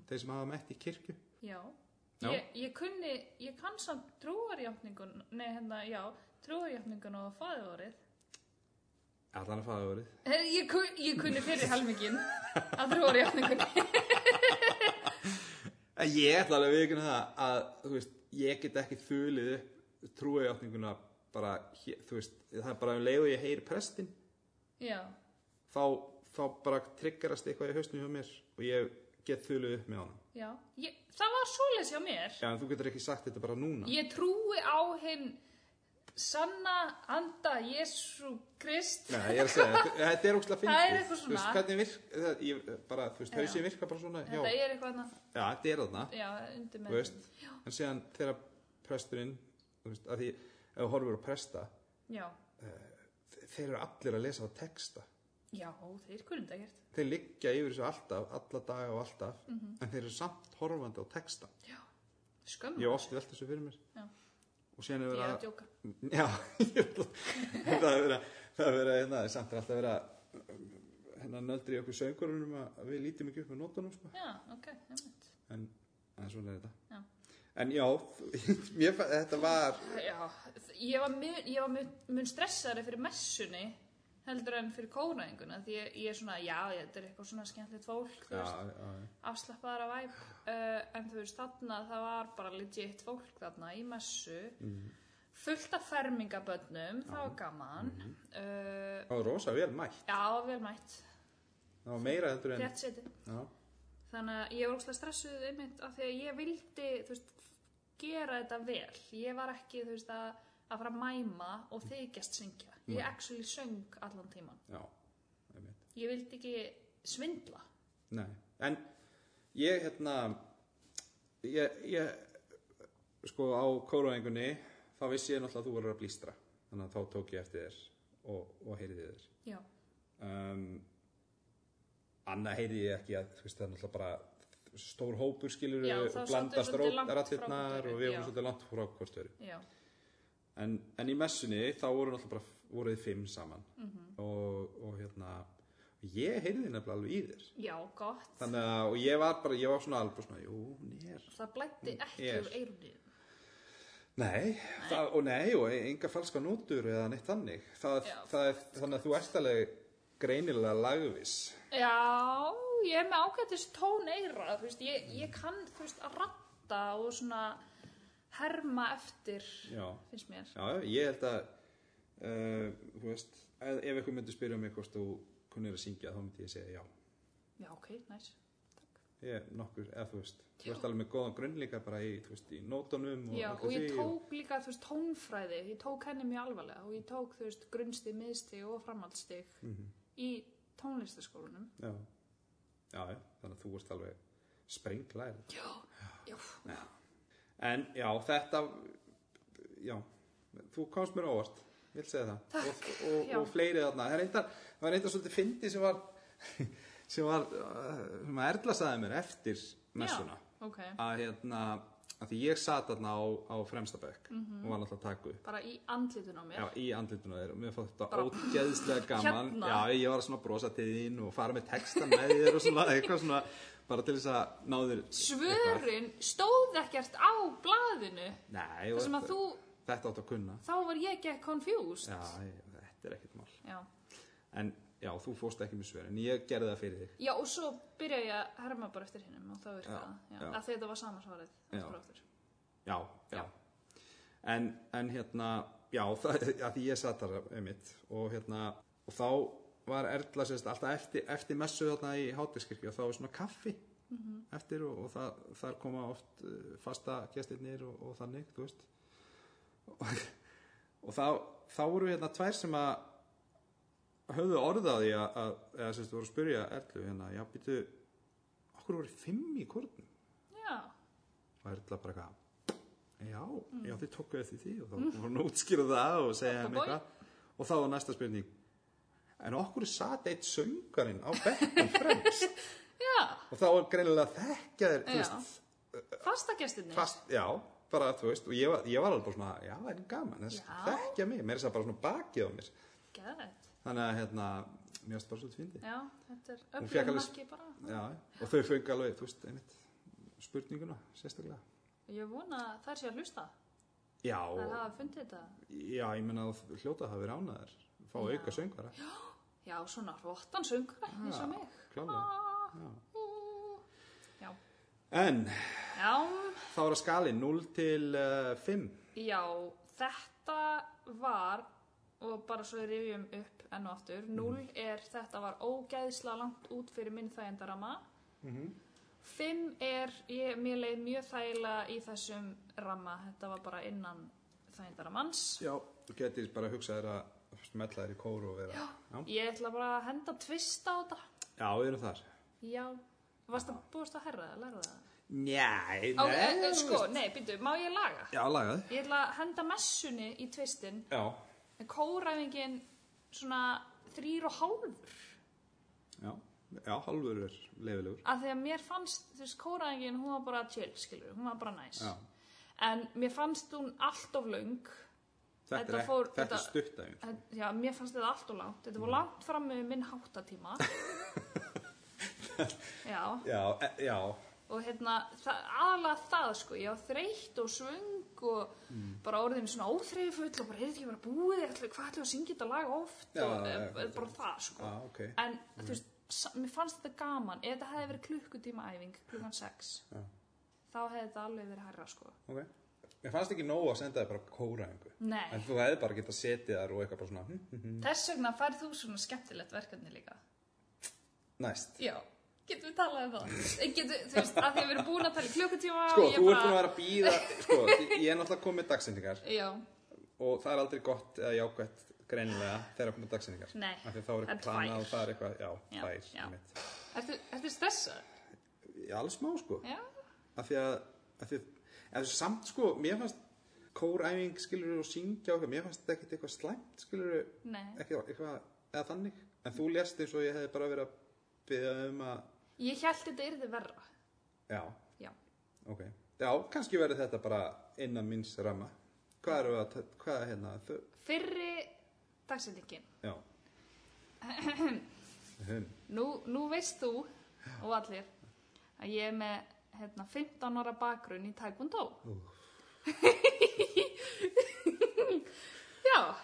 Speaker 2: þeir sem hafa mætt í kirkju
Speaker 1: já
Speaker 2: Já.
Speaker 1: Ég, ég kunni, ég kann samt trúarjáfningun, nei hérna, já, trúarjáfningun og fæðvorið.
Speaker 2: allan að faða orðið
Speaker 1: Herri, Ég, kun, ég kunni fyrir helmingin að trúarjáfningunni.
Speaker 2: en ég ætla alveg að viðkynna það að þú veist, ég get ekki þulið upp trúiðjáttninguna bara, hér, þú veist, það er bara um leið og ég heyri prestin,
Speaker 1: (laughs) Já,
Speaker 2: þá, þá bara triggerast eitthvað í hausnum hjá mér og ég get þulið upp með honum
Speaker 1: já. Ég, það var svoleiðs hjá mér.
Speaker 2: já, en þú getur ekki sagt þetta bara núna
Speaker 1: Ég trúi á hinn sanna anda Jésu Krist.
Speaker 2: Nei, ég er að segja, þetta- þetta er ógstlega fyndið
Speaker 1: Það er eitthvað
Speaker 2: Þú veist,
Speaker 1: svona.
Speaker 2: hvernig virk, það, ég, bara, þú veist,
Speaker 1: Já.
Speaker 2: hausið virka bara svona já,
Speaker 1: Þetta er eitthvað, annað-
Speaker 2: já, þetta er þarna
Speaker 1: já, undir
Speaker 2: Þú
Speaker 1: með.
Speaker 2: veist, en síðan þegar presturinn þú veist, að því ef þú horfur á presta
Speaker 1: Já,
Speaker 2: þeir eru allir að lesa á texta
Speaker 1: já, þeir kunni þetta gert.
Speaker 2: þeir liggja yfir þessu alltaf, alla daga og alltaf
Speaker 1: Mhm.
Speaker 2: en þeir eru samt horfandi á texta
Speaker 1: Skömmu.
Speaker 2: ég hef oft velt þessu fyrir mér
Speaker 1: Já.
Speaker 2: og síðan
Speaker 1: Ég
Speaker 2: er
Speaker 1: er
Speaker 2: verið
Speaker 1: að
Speaker 2: að
Speaker 1: djóka.
Speaker 2: (laughs) já, það er verið að það er verið að, hérna, samt er alltaf verið að hérna nöldri í okkur söngurunum að við lítum ekki upp með nótunum sko.
Speaker 1: Já, ok, einmitt.
Speaker 2: en, en svona er þetta
Speaker 1: Já.
Speaker 2: en já, (laughs) mér, fa- þetta var
Speaker 1: Já, ég var, mun, ég var mun, mun stressaðri fyrir messunni heldur en fyrir kóraðinguna því ég, ég er svona, já, ég- þetta er eitthvað svona skemmtilegt fólk, þú
Speaker 2: já,
Speaker 1: veist,
Speaker 2: já, já.
Speaker 1: afslappaðar að væp uh, en þú veist, þarna það var bara legit fólk þarna í messu fullt af fermingabönnum það var gaman uh,
Speaker 2: það var rosa vel mætt
Speaker 1: já, vel mætt,
Speaker 2: það var meira heldur en
Speaker 1: rétt seti
Speaker 2: já,
Speaker 1: þannig að ég var óslega stressuð einmitt af því að ég vildi þú veist, gera þetta vel ég var ekki þú veist, að, að fara að mæma og þykjast syngja ég actually söng allan tíman
Speaker 2: já, einmitt.
Speaker 1: ég vildi ekki svindla
Speaker 2: Nei, en ég hérna ég, ég sko á kóraðingunni þá vissi ég náttúrulega að þú voru að blístra þannig að þá tók ég eftir þér og, og heyriði þér
Speaker 1: já,
Speaker 2: um, annað heyriði ég ekki að þú veist það er náttúrulega bara stór hópur skilur
Speaker 1: Já, það
Speaker 2: og
Speaker 1: var svolítið-
Speaker 2: blandast
Speaker 1: svolítið langt frá hvort
Speaker 2: rattirnar
Speaker 1: öðru,
Speaker 2: og við
Speaker 1: já.
Speaker 2: vorum svolítið langt frá hvort öru
Speaker 1: já,
Speaker 2: en, en í messunni þá voru náttúrulega bara voruð þið fimm saman
Speaker 1: Mhm.
Speaker 2: og, og hérna ég heyriði nefnilega alveg í þér
Speaker 1: já, gott
Speaker 2: Þannig að, og ég var bara, ég var svona alveg bara svona, jú, hún er.
Speaker 1: það blætti ekki
Speaker 2: Yes.
Speaker 1: úr eirunni
Speaker 2: Nei, það, og nei, og enga falska nótur eða neitt þannig. Það,
Speaker 1: Já.
Speaker 2: það er, þannig að þú ert alveg greinilega lagvis.
Speaker 1: já, ég er með ágættis tón eira þú veist, ég, ég kann þú veist, að ratta og svona herma eftir
Speaker 2: Já,
Speaker 1: finnst mér
Speaker 2: já, ég held að, e, uh, þú veist, ef ef einhver myndi spyrja mig hvort þú kunnir að syngja, þá myndi ég segja já.
Speaker 1: já, ok, næs. Takk.
Speaker 2: ég er nokkur, eða þú veist þú
Speaker 1: Já.
Speaker 2: veist alveg með góðan grunn líka bara í, þú veist, í nótunum og
Speaker 1: Já,
Speaker 2: öllu
Speaker 1: og ég
Speaker 2: því
Speaker 1: tók líka, þú veist, tónfræði, ég tók henni mjög alvarlega og ég tók, þú veist, grunnstig, miðstig og framhaldsstig
Speaker 2: Mhm.
Speaker 1: í tónlistaskólanum.
Speaker 2: já. Já, já, þannig að þú veist alveg sprenglær
Speaker 1: Já, já,
Speaker 2: en já, þetta já, þú komst mér á óvart ég vil segja það
Speaker 1: Takk,
Speaker 2: og, og,
Speaker 1: já.
Speaker 2: og fleiri þarna, það er eitthvað það var eitthvað svolítið fyndi sem var (laughs) sem var, uh, sem að Erla saði mér eftir messuna
Speaker 1: ok.
Speaker 2: að hérna að því ég satt þarna á, á fremsta bekk
Speaker 1: Mhm.
Speaker 2: og var náttúrulega að taka upp
Speaker 1: Bara í andlitun á mér.
Speaker 2: Já, í andlutinu þér og mér fannst þetta
Speaker 1: Bara- (laughs)
Speaker 2: ógeðslega gaman
Speaker 1: Hérna.
Speaker 2: Já, ég var svona að brosa til þín og fara með texta með þér og svona eitthvað svona bara til þess að ná þér eitthvað.
Speaker 1: Svörin stóð ekkert á blaðinu.
Speaker 2: Nei, og
Speaker 1: Það sem að þú,
Speaker 2: þetta átt að kunna
Speaker 1: þá var ég ekki confused.
Speaker 2: Já, ég, þetta er ekkert mál
Speaker 1: já.
Speaker 2: En já, þú fórst ekki með svör en ég gerði það fyrir þig
Speaker 1: Já, og svo byrjaði ég að herma bara eftir hinnum og það
Speaker 2: Já,
Speaker 1: virkaði. Já,
Speaker 2: já.
Speaker 1: Af því þetta var samansvarið.
Speaker 2: Já.
Speaker 1: Já.
Speaker 2: Já, já, En, en hérna, já, (laughs) það, að því ég satt þar einmitt og hérna, og þá var Erla sérst alltaf eftir, eftir messu þarna í hátiskirkju og þá var svona kaffi eftir og, og það, þar koma oft uh, fasta gestirnir og, og þannig, þú veist og, og þá, þá voru hérna tvær sem að höfðu orðaði að, að eða sérst voru að spyrja Erlu hérna, já, býtu okkur voru fimm í kórnum
Speaker 1: Já,
Speaker 2: og Erla bara eitthvað já, já þið tókuðu eftir því og þá voru hún að útskýra það og
Speaker 1: Mm.
Speaker 2: segja
Speaker 1: Þetta
Speaker 2: henni
Speaker 1: boy.
Speaker 2: eitthvað og þá var næsta spurning en okkur satt eitt söngarinn á bekknum
Speaker 1: (laughs)
Speaker 2: fremst
Speaker 1: já,
Speaker 2: og þá var greinilega þekkja þér þú
Speaker 1: Já.
Speaker 2: veist,
Speaker 1: fastagestinni.
Speaker 2: fast, já, bara þú veist og ég var, ég var alveg bara svona, já, en gaman þess,
Speaker 1: Já.
Speaker 2: þekkja mig, mér er það bara svona bakið á mér
Speaker 1: Geðveikt.
Speaker 2: þannig að hérna, mér varst bara svolítið fyndið
Speaker 1: Já, þetta er
Speaker 2: Hún fékk alveg-
Speaker 1: öflugmarki bara.
Speaker 2: já, og þau fengi alveg, þú veist, einmitt spurninguna, sérstaklega
Speaker 1: Ég vona að þær sé að hlusta.
Speaker 2: já,
Speaker 1: Þær hafa fundið þetta.
Speaker 2: Já, ég meina að hljóta hafi ránaðar fá
Speaker 1: Já.
Speaker 2: auka söngvara
Speaker 1: Já, svona rottan söngara eins og
Speaker 2: Já,
Speaker 1: mig.
Speaker 2: klálega.
Speaker 1: Ah,
Speaker 2: Já.
Speaker 1: ú. Já,
Speaker 2: En
Speaker 1: já,
Speaker 2: þá er að skali 0 til uh, 5
Speaker 1: já, þetta var, og bara svo við rifjum upp enn og aftur, 0
Speaker 2: Mhm.
Speaker 1: er þetta var ógæðsla langt út fyrir minn þægindarama.
Speaker 2: Mhm.
Speaker 1: 5 er, ég, mér leið mjög þægilega í þessum ramma, þetta var bara innan þægindaramans.
Speaker 2: Já Þú getur bara að hugsa þér að smetla þér í kóru og vera Já, já.
Speaker 1: Ég ætla bara að henda tvist á þetta.
Speaker 2: við erum þar
Speaker 1: Já, varst það búist að herra það, læra það?
Speaker 2: Njæ,
Speaker 1: Á, en, en, sko, nei, býttu, má ég laga?
Speaker 2: Já, lagað
Speaker 1: Ég ætla að henda messunni í tvistinn
Speaker 2: Já,
Speaker 1: en kóræfingin svona þrýr og hálfur
Speaker 2: já, já hálfur er leifilegur
Speaker 1: af því að mér fannst, þú veist, kóræfingin hún var bara chill, skilur, hún var bara næs
Speaker 2: Já,
Speaker 1: en mér fannst hún allt of löng
Speaker 2: þetta,
Speaker 1: Þetta
Speaker 2: er,
Speaker 1: fór-
Speaker 2: fór, þetta
Speaker 1: þetta-
Speaker 2: er stuttæfing
Speaker 1: en, já, mér fannst þetta allt of langt þetta
Speaker 2: Mm.
Speaker 1: var langt fram með minn
Speaker 2: (laughs)
Speaker 1: háttatíma já,
Speaker 2: Já, e, já,
Speaker 1: og hérna það, aðalega það sko, ég var þreytt og svöng og
Speaker 2: Mm.
Speaker 1: bara orðin svona óþreyfull og bara, heyrðu ekki bara búið ætla, hvað ætlum við að syngja þetta lag oft
Speaker 2: Já,
Speaker 1: og
Speaker 2: já,
Speaker 1: e,
Speaker 2: já,
Speaker 1: e, bara það sko
Speaker 2: já, Ah, ok
Speaker 1: en þú veist, sa- mér fannst þetta gaman ef þetta hefði verið klukkutíma æfing klukkan 6
Speaker 2: Já.
Speaker 1: þá hefði þetta alveg verið hærra sko
Speaker 2: Ok Mér fannst ekki nóg að senda þér bara kóraðingu
Speaker 1: Nei.
Speaker 2: En þú hefði bara getað setið þar og eitthvað bara svona hm, hm,
Speaker 1: þess vegna færð þú svona skemmtilegt verkefni líka
Speaker 2: hm, Næst
Speaker 1: já, getum við talað um það En getum, þú veist, að því að við erum búin að tala í klukkutíma
Speaker 2: Sko,
Speaker 1: og ég
Speaker 2: þú ert búin að vera að býða Sko, ég er náttúrulega komið dagsendingar
Speaker 1: já,
Speaker 2: Og það er aldrei gott eða jákvætt greinilega þegar komið dagsendingar
Speaker 1: Nei,
Speaker 2: Af því að þá er
Speaker 1: það er
Speaker 2: eitthvað planað
Speaker 1: tvær.
Speaker 2: og það er eitthvað Já,
Speaker 1: Já,
Speaker 2: tvær
Speaker 1: já.
Speaker 2: einmitt.
Speaker 1: ertu, ertu stressað?
Speaker 2: Ég er alls má, sko
Speaker 1: já,
Speaker 2: Af því að, af því að eða, Samt, sko, mér fannst Kóræfing, skilur og syngja og eitthvað Mér fannst ekkert eitthvað slæmt, skilur
Speaker 1: nei
Speaker 2: Ekki eitthvað, eða þannig En þú lest eins og ég hefði bara verið að Byggja um að,
Speaker 1: Ég held þetta yrði verra.
Speaker 2: já,
Speaker 1: Já.
Speaker 2: ok Já, kannski verið þetta bara innan minns ramma Hvað eru að, hvað er hérna þau,
Speaker 1: Fyrri dagsendingin.
Speaker 2: Já
Speaker 1: (laughs)
Speaker 2: Hinn.
Speaker 1: Nú, nú veist þú og allir að ég er með hérna, 15 ára bakgrunn í Taekwondo. (laughs) já,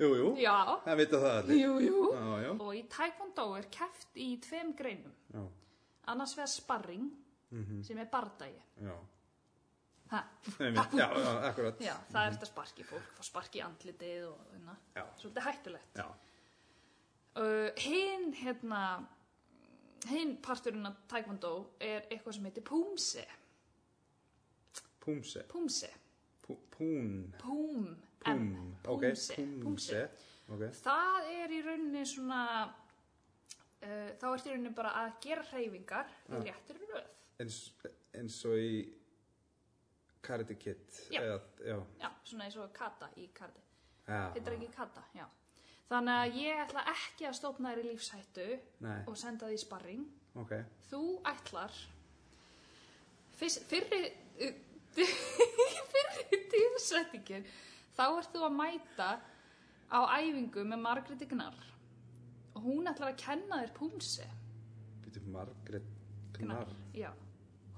Speaker 2: Jú, jú,
Speaker 1: já,
Speaker 2: það vita það allir
Speaker 1: jú, jú.
Speaker 2: Já, já,
Speaker 1: Og í Taekwondo er keft í tveim greinum.
Speaker 2: já,
Speaker 1: Annars vegar sparring sem er bardagi.
Speaker 2: já
Speaker 1: Ha,
Speaker 2: Einmitt, Já, já, akkurat
Speaker 1: já, það er þetta sparki fólk, fá sparki í andlitið og hérna.
Speaker 2: Já.
Speaker 1: Svolítið hættulegt.
Speaker 2: já,
Speaker 1: uh, hinn hérna hinn hinn parturinn af taekwondo er eitthvað sem heitir púmse
Speaker 2: Púmse.
Speaker 1: púmse,
Speaker 2: Pú- Pún.
Speaker 1: púm,
Speaker 2: Púm.
Speaker 1: M,
Speaker 2: Ok,
Speaker 1: púmse, púmse.
Speaker 2: púmse. Ok.
Speaker 1: það er í rauninni svona uh, þá ertu í rauninni bara að gera hreyfingar í réttir röð
Speaker 2: Eins, eins og í Karate Kid.
Speaker 1: Já.
Speaker 2: Eða, já.
Speaker 1: já, svona eins og kata í kardi
Speaker 2: Já.
Speaker 1: heitir ekki kata, já þannig að ég ætla ekki að stofna þér í lífshættu
Speaker 2: Nei,
Speaker 1: og senda því sparring
Speaker 2: ok.
Speaker 1: þú ætlar fyrst, fyrri uh, (laughs) fyrri tíðsettingin þá ert þú að mæta á æfingu með Margréti Gnar og hún ætlar að kenna þér púmsi
Speaker 2: Býtu Margrét Gnar.
Speaker 1: já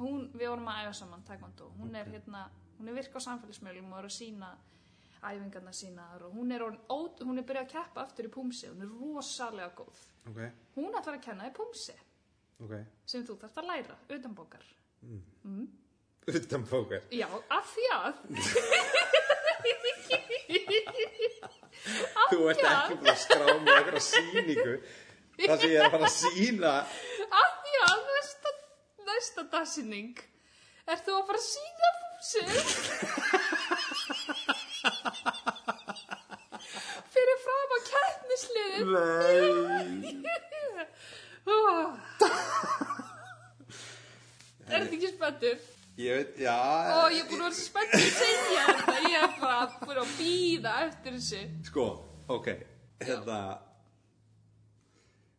Speaker 1: hún, við vorum að æfa saman taekwondo hún er hérna, hún er virk á samfélagsmiðlum og er að sína æfingarna sínar og hún er, orðin ó, hún er byrjað að keppa aftur í púmsi, hún er rosalega góð
Speaker 2: Ok,
Speaker 1: hún ætlar að kenna þér púmsi
Speaker 2: ok.
Speaker 1: sem þú þarft að læra, utanbókar
Speaker 2: Utan póker.
Speaker 1: Já, af því að
Speaker 2: Þú ert ekki búin að skrá með einhverja sýningu. Það sem ég er að fara að
Speaker 1: (laughs)
Speaker 2: sína.
Speaker 1: af því að næsta, næsta dagsinning er þú að fara að sína fúsi fyrir fram á
Speaker 2: (laughs)
Speaker 1: kætnisliðin
Speaker 2: Nei.
Speaker 1: Er þetta ekki spenntur?
Speaker 2: Ég veit, já.
Speaker 1: Ó, ég er búin að vera svo spenntur að segja þetta Ég er bara búin að býða eftir þessu
Speaker 2: Sko, ok. Hérna.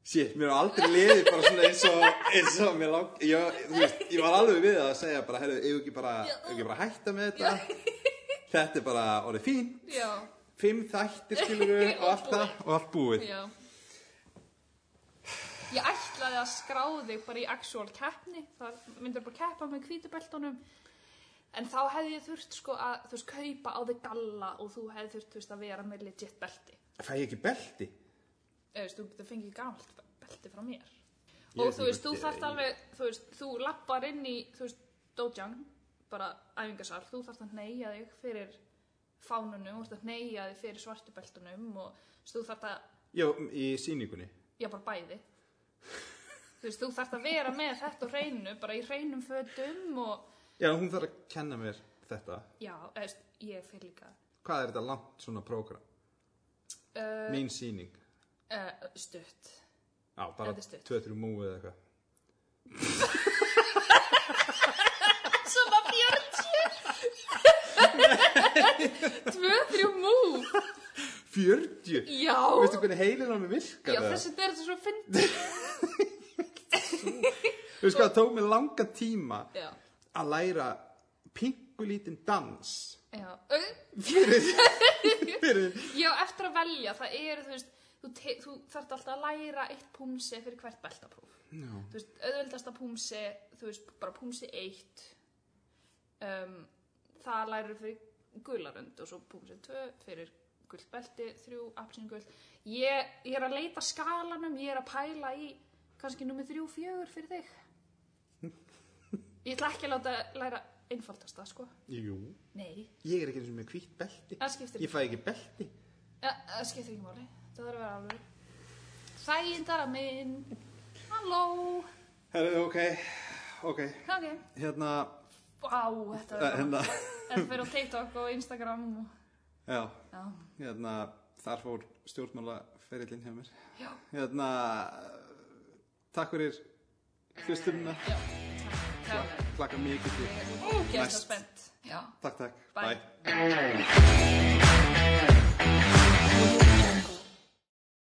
Speaker 2: Shit, mér er aldrei liðið bara svona eins og, eins og mér lang... Ég, þú veist, ég var alveg við að segja bara, herru, eigum ekki bara,
Speaker 1: Já.
Speaker 2: eigum ekki bara að hætta með þetta. Þetta er bara orðið fín.
Speaker 1: Já,
Speaker 2: Fimm þættir skilur
Speaker 1: (laughs)
Speaker 2: við og allt það og allt búið.
Speaker 1: já Ég ætlaði að skrá þig bara í actual keppni Það myndir bara keppa með hvítubeltunum En þá hefði ég þurft sko að, þú veist, kaupa á þig galla og þú hefði þurft, þú veist, að vera með legit belti
Speaker 2: Fæ ég ekki belti?
Speaker 1: eða þú veist, þú getur fengið gamalt belti frá mér og
Speaker 2: Ég veit
Speaker 1: þú
Speaker 2: ekki
Speaker 1: veist, þú
Speaker 2: hvort ég-
Speaker 1: þarft alveg þú veist, þú lappar inn í þú veist, dojang, bara æfingasal þú þarft að neyja þig fyrir fánunum, þú þarft að neyja þig fyrir svartubeltunum og þú veist, þú þarft að,
Speaker 2: Já, í sýningunni.
Speaker 1: já bara bæði þú veist, þú þarft að vera með þetta og hreinu, bara í hreinum fötum og,
Speaker 2: Já, hún þarf að kenna mér þetta.
Speaker 1: já, eða, þú veist, ég fyrir líka
Speaker 2: Hvað er þetta langt svona prógram?
Speaker 1: uh,
Speaker 2: Mín sýning.
Speaker 1: uh, stutt
Speaker 2: Já, bara
Speaker 1: Þetta er stutt.
Speaker 2: 2-3 múið eða eitthvað.
Speaker 1: Svona 40 Tvö, þrjú múf
Speaker 2: 40?
Speaker 1: Já
Speaker 2: Veistu hvernig heilin á mig virkar
Speaker 1: Já,
Speaker 2: það?
Speaker 1: þessi þetta er svo fyndið
Speaker 2: Þú veist hvað, það tók mig langa tíma
Speaker 1: Já,
Speaker 2: að læra pinkulítinn dans
Speaker 1: já Ö,
Speaker 2: fyrir, fyrir
Speaker 1: Já, eftir að velja, það eru, þú veist Þú, te- þú þarft alltaf að læra eitt púmsi fyrir hvert beltapróf
Speaker 2: Já,
Speaker 1: Þú veist, auðveldasta púmsi, þú veist, bara púmsi eitt um, Það lærir fyrir gularund og svo púmsi tvö fyrir gult belti, þrjú, apsingult ég, ég er að leita skalanum, ég er að pæla í kannski nummer þrjú, fjögur fyrir þig Ég ætla ekki að láta læra einfaldasta, sko
Speaker 2: jú
Speaker 1: Nei,
Speaker 2: Ég er ekki eins og með hvítt belti
Speaker 1: það skiptir
Speaker 2: Ég fæ ekki belti
Speaker 1: Ja, það skiptir ekki máli, það þarf að vera alveg Þægindara minn Halló
Speaker 2: Herru, ok, ok
Speaker 1: Ok,
Speaker 2: Hérna,
Speaker 1: vá, þetta
Speaker 2: eh,
Speaker 1: er
Speaker 2: hérna (laughs)
Speaker 1: Þetta fyrir á TikTok og Instagram og...
Speaker 2: Já,
Speaker 1: Já,
Speaker 2: hérna Þar fór stjórnmálaferillin hjá mér
Speaker 1: já,
Speaker 2: Hérna Takk fyrir hlustunina
Speaker 1: já Kæmlega,
Speaker 2: Klakka mikið til
Speaker 1: ógeðslega
Speaker 2: Næst.
Speaker 1: spennt Já
Speaker 2: Takk, takk
Speaker 1: Bye.
Speaker 2: Bye.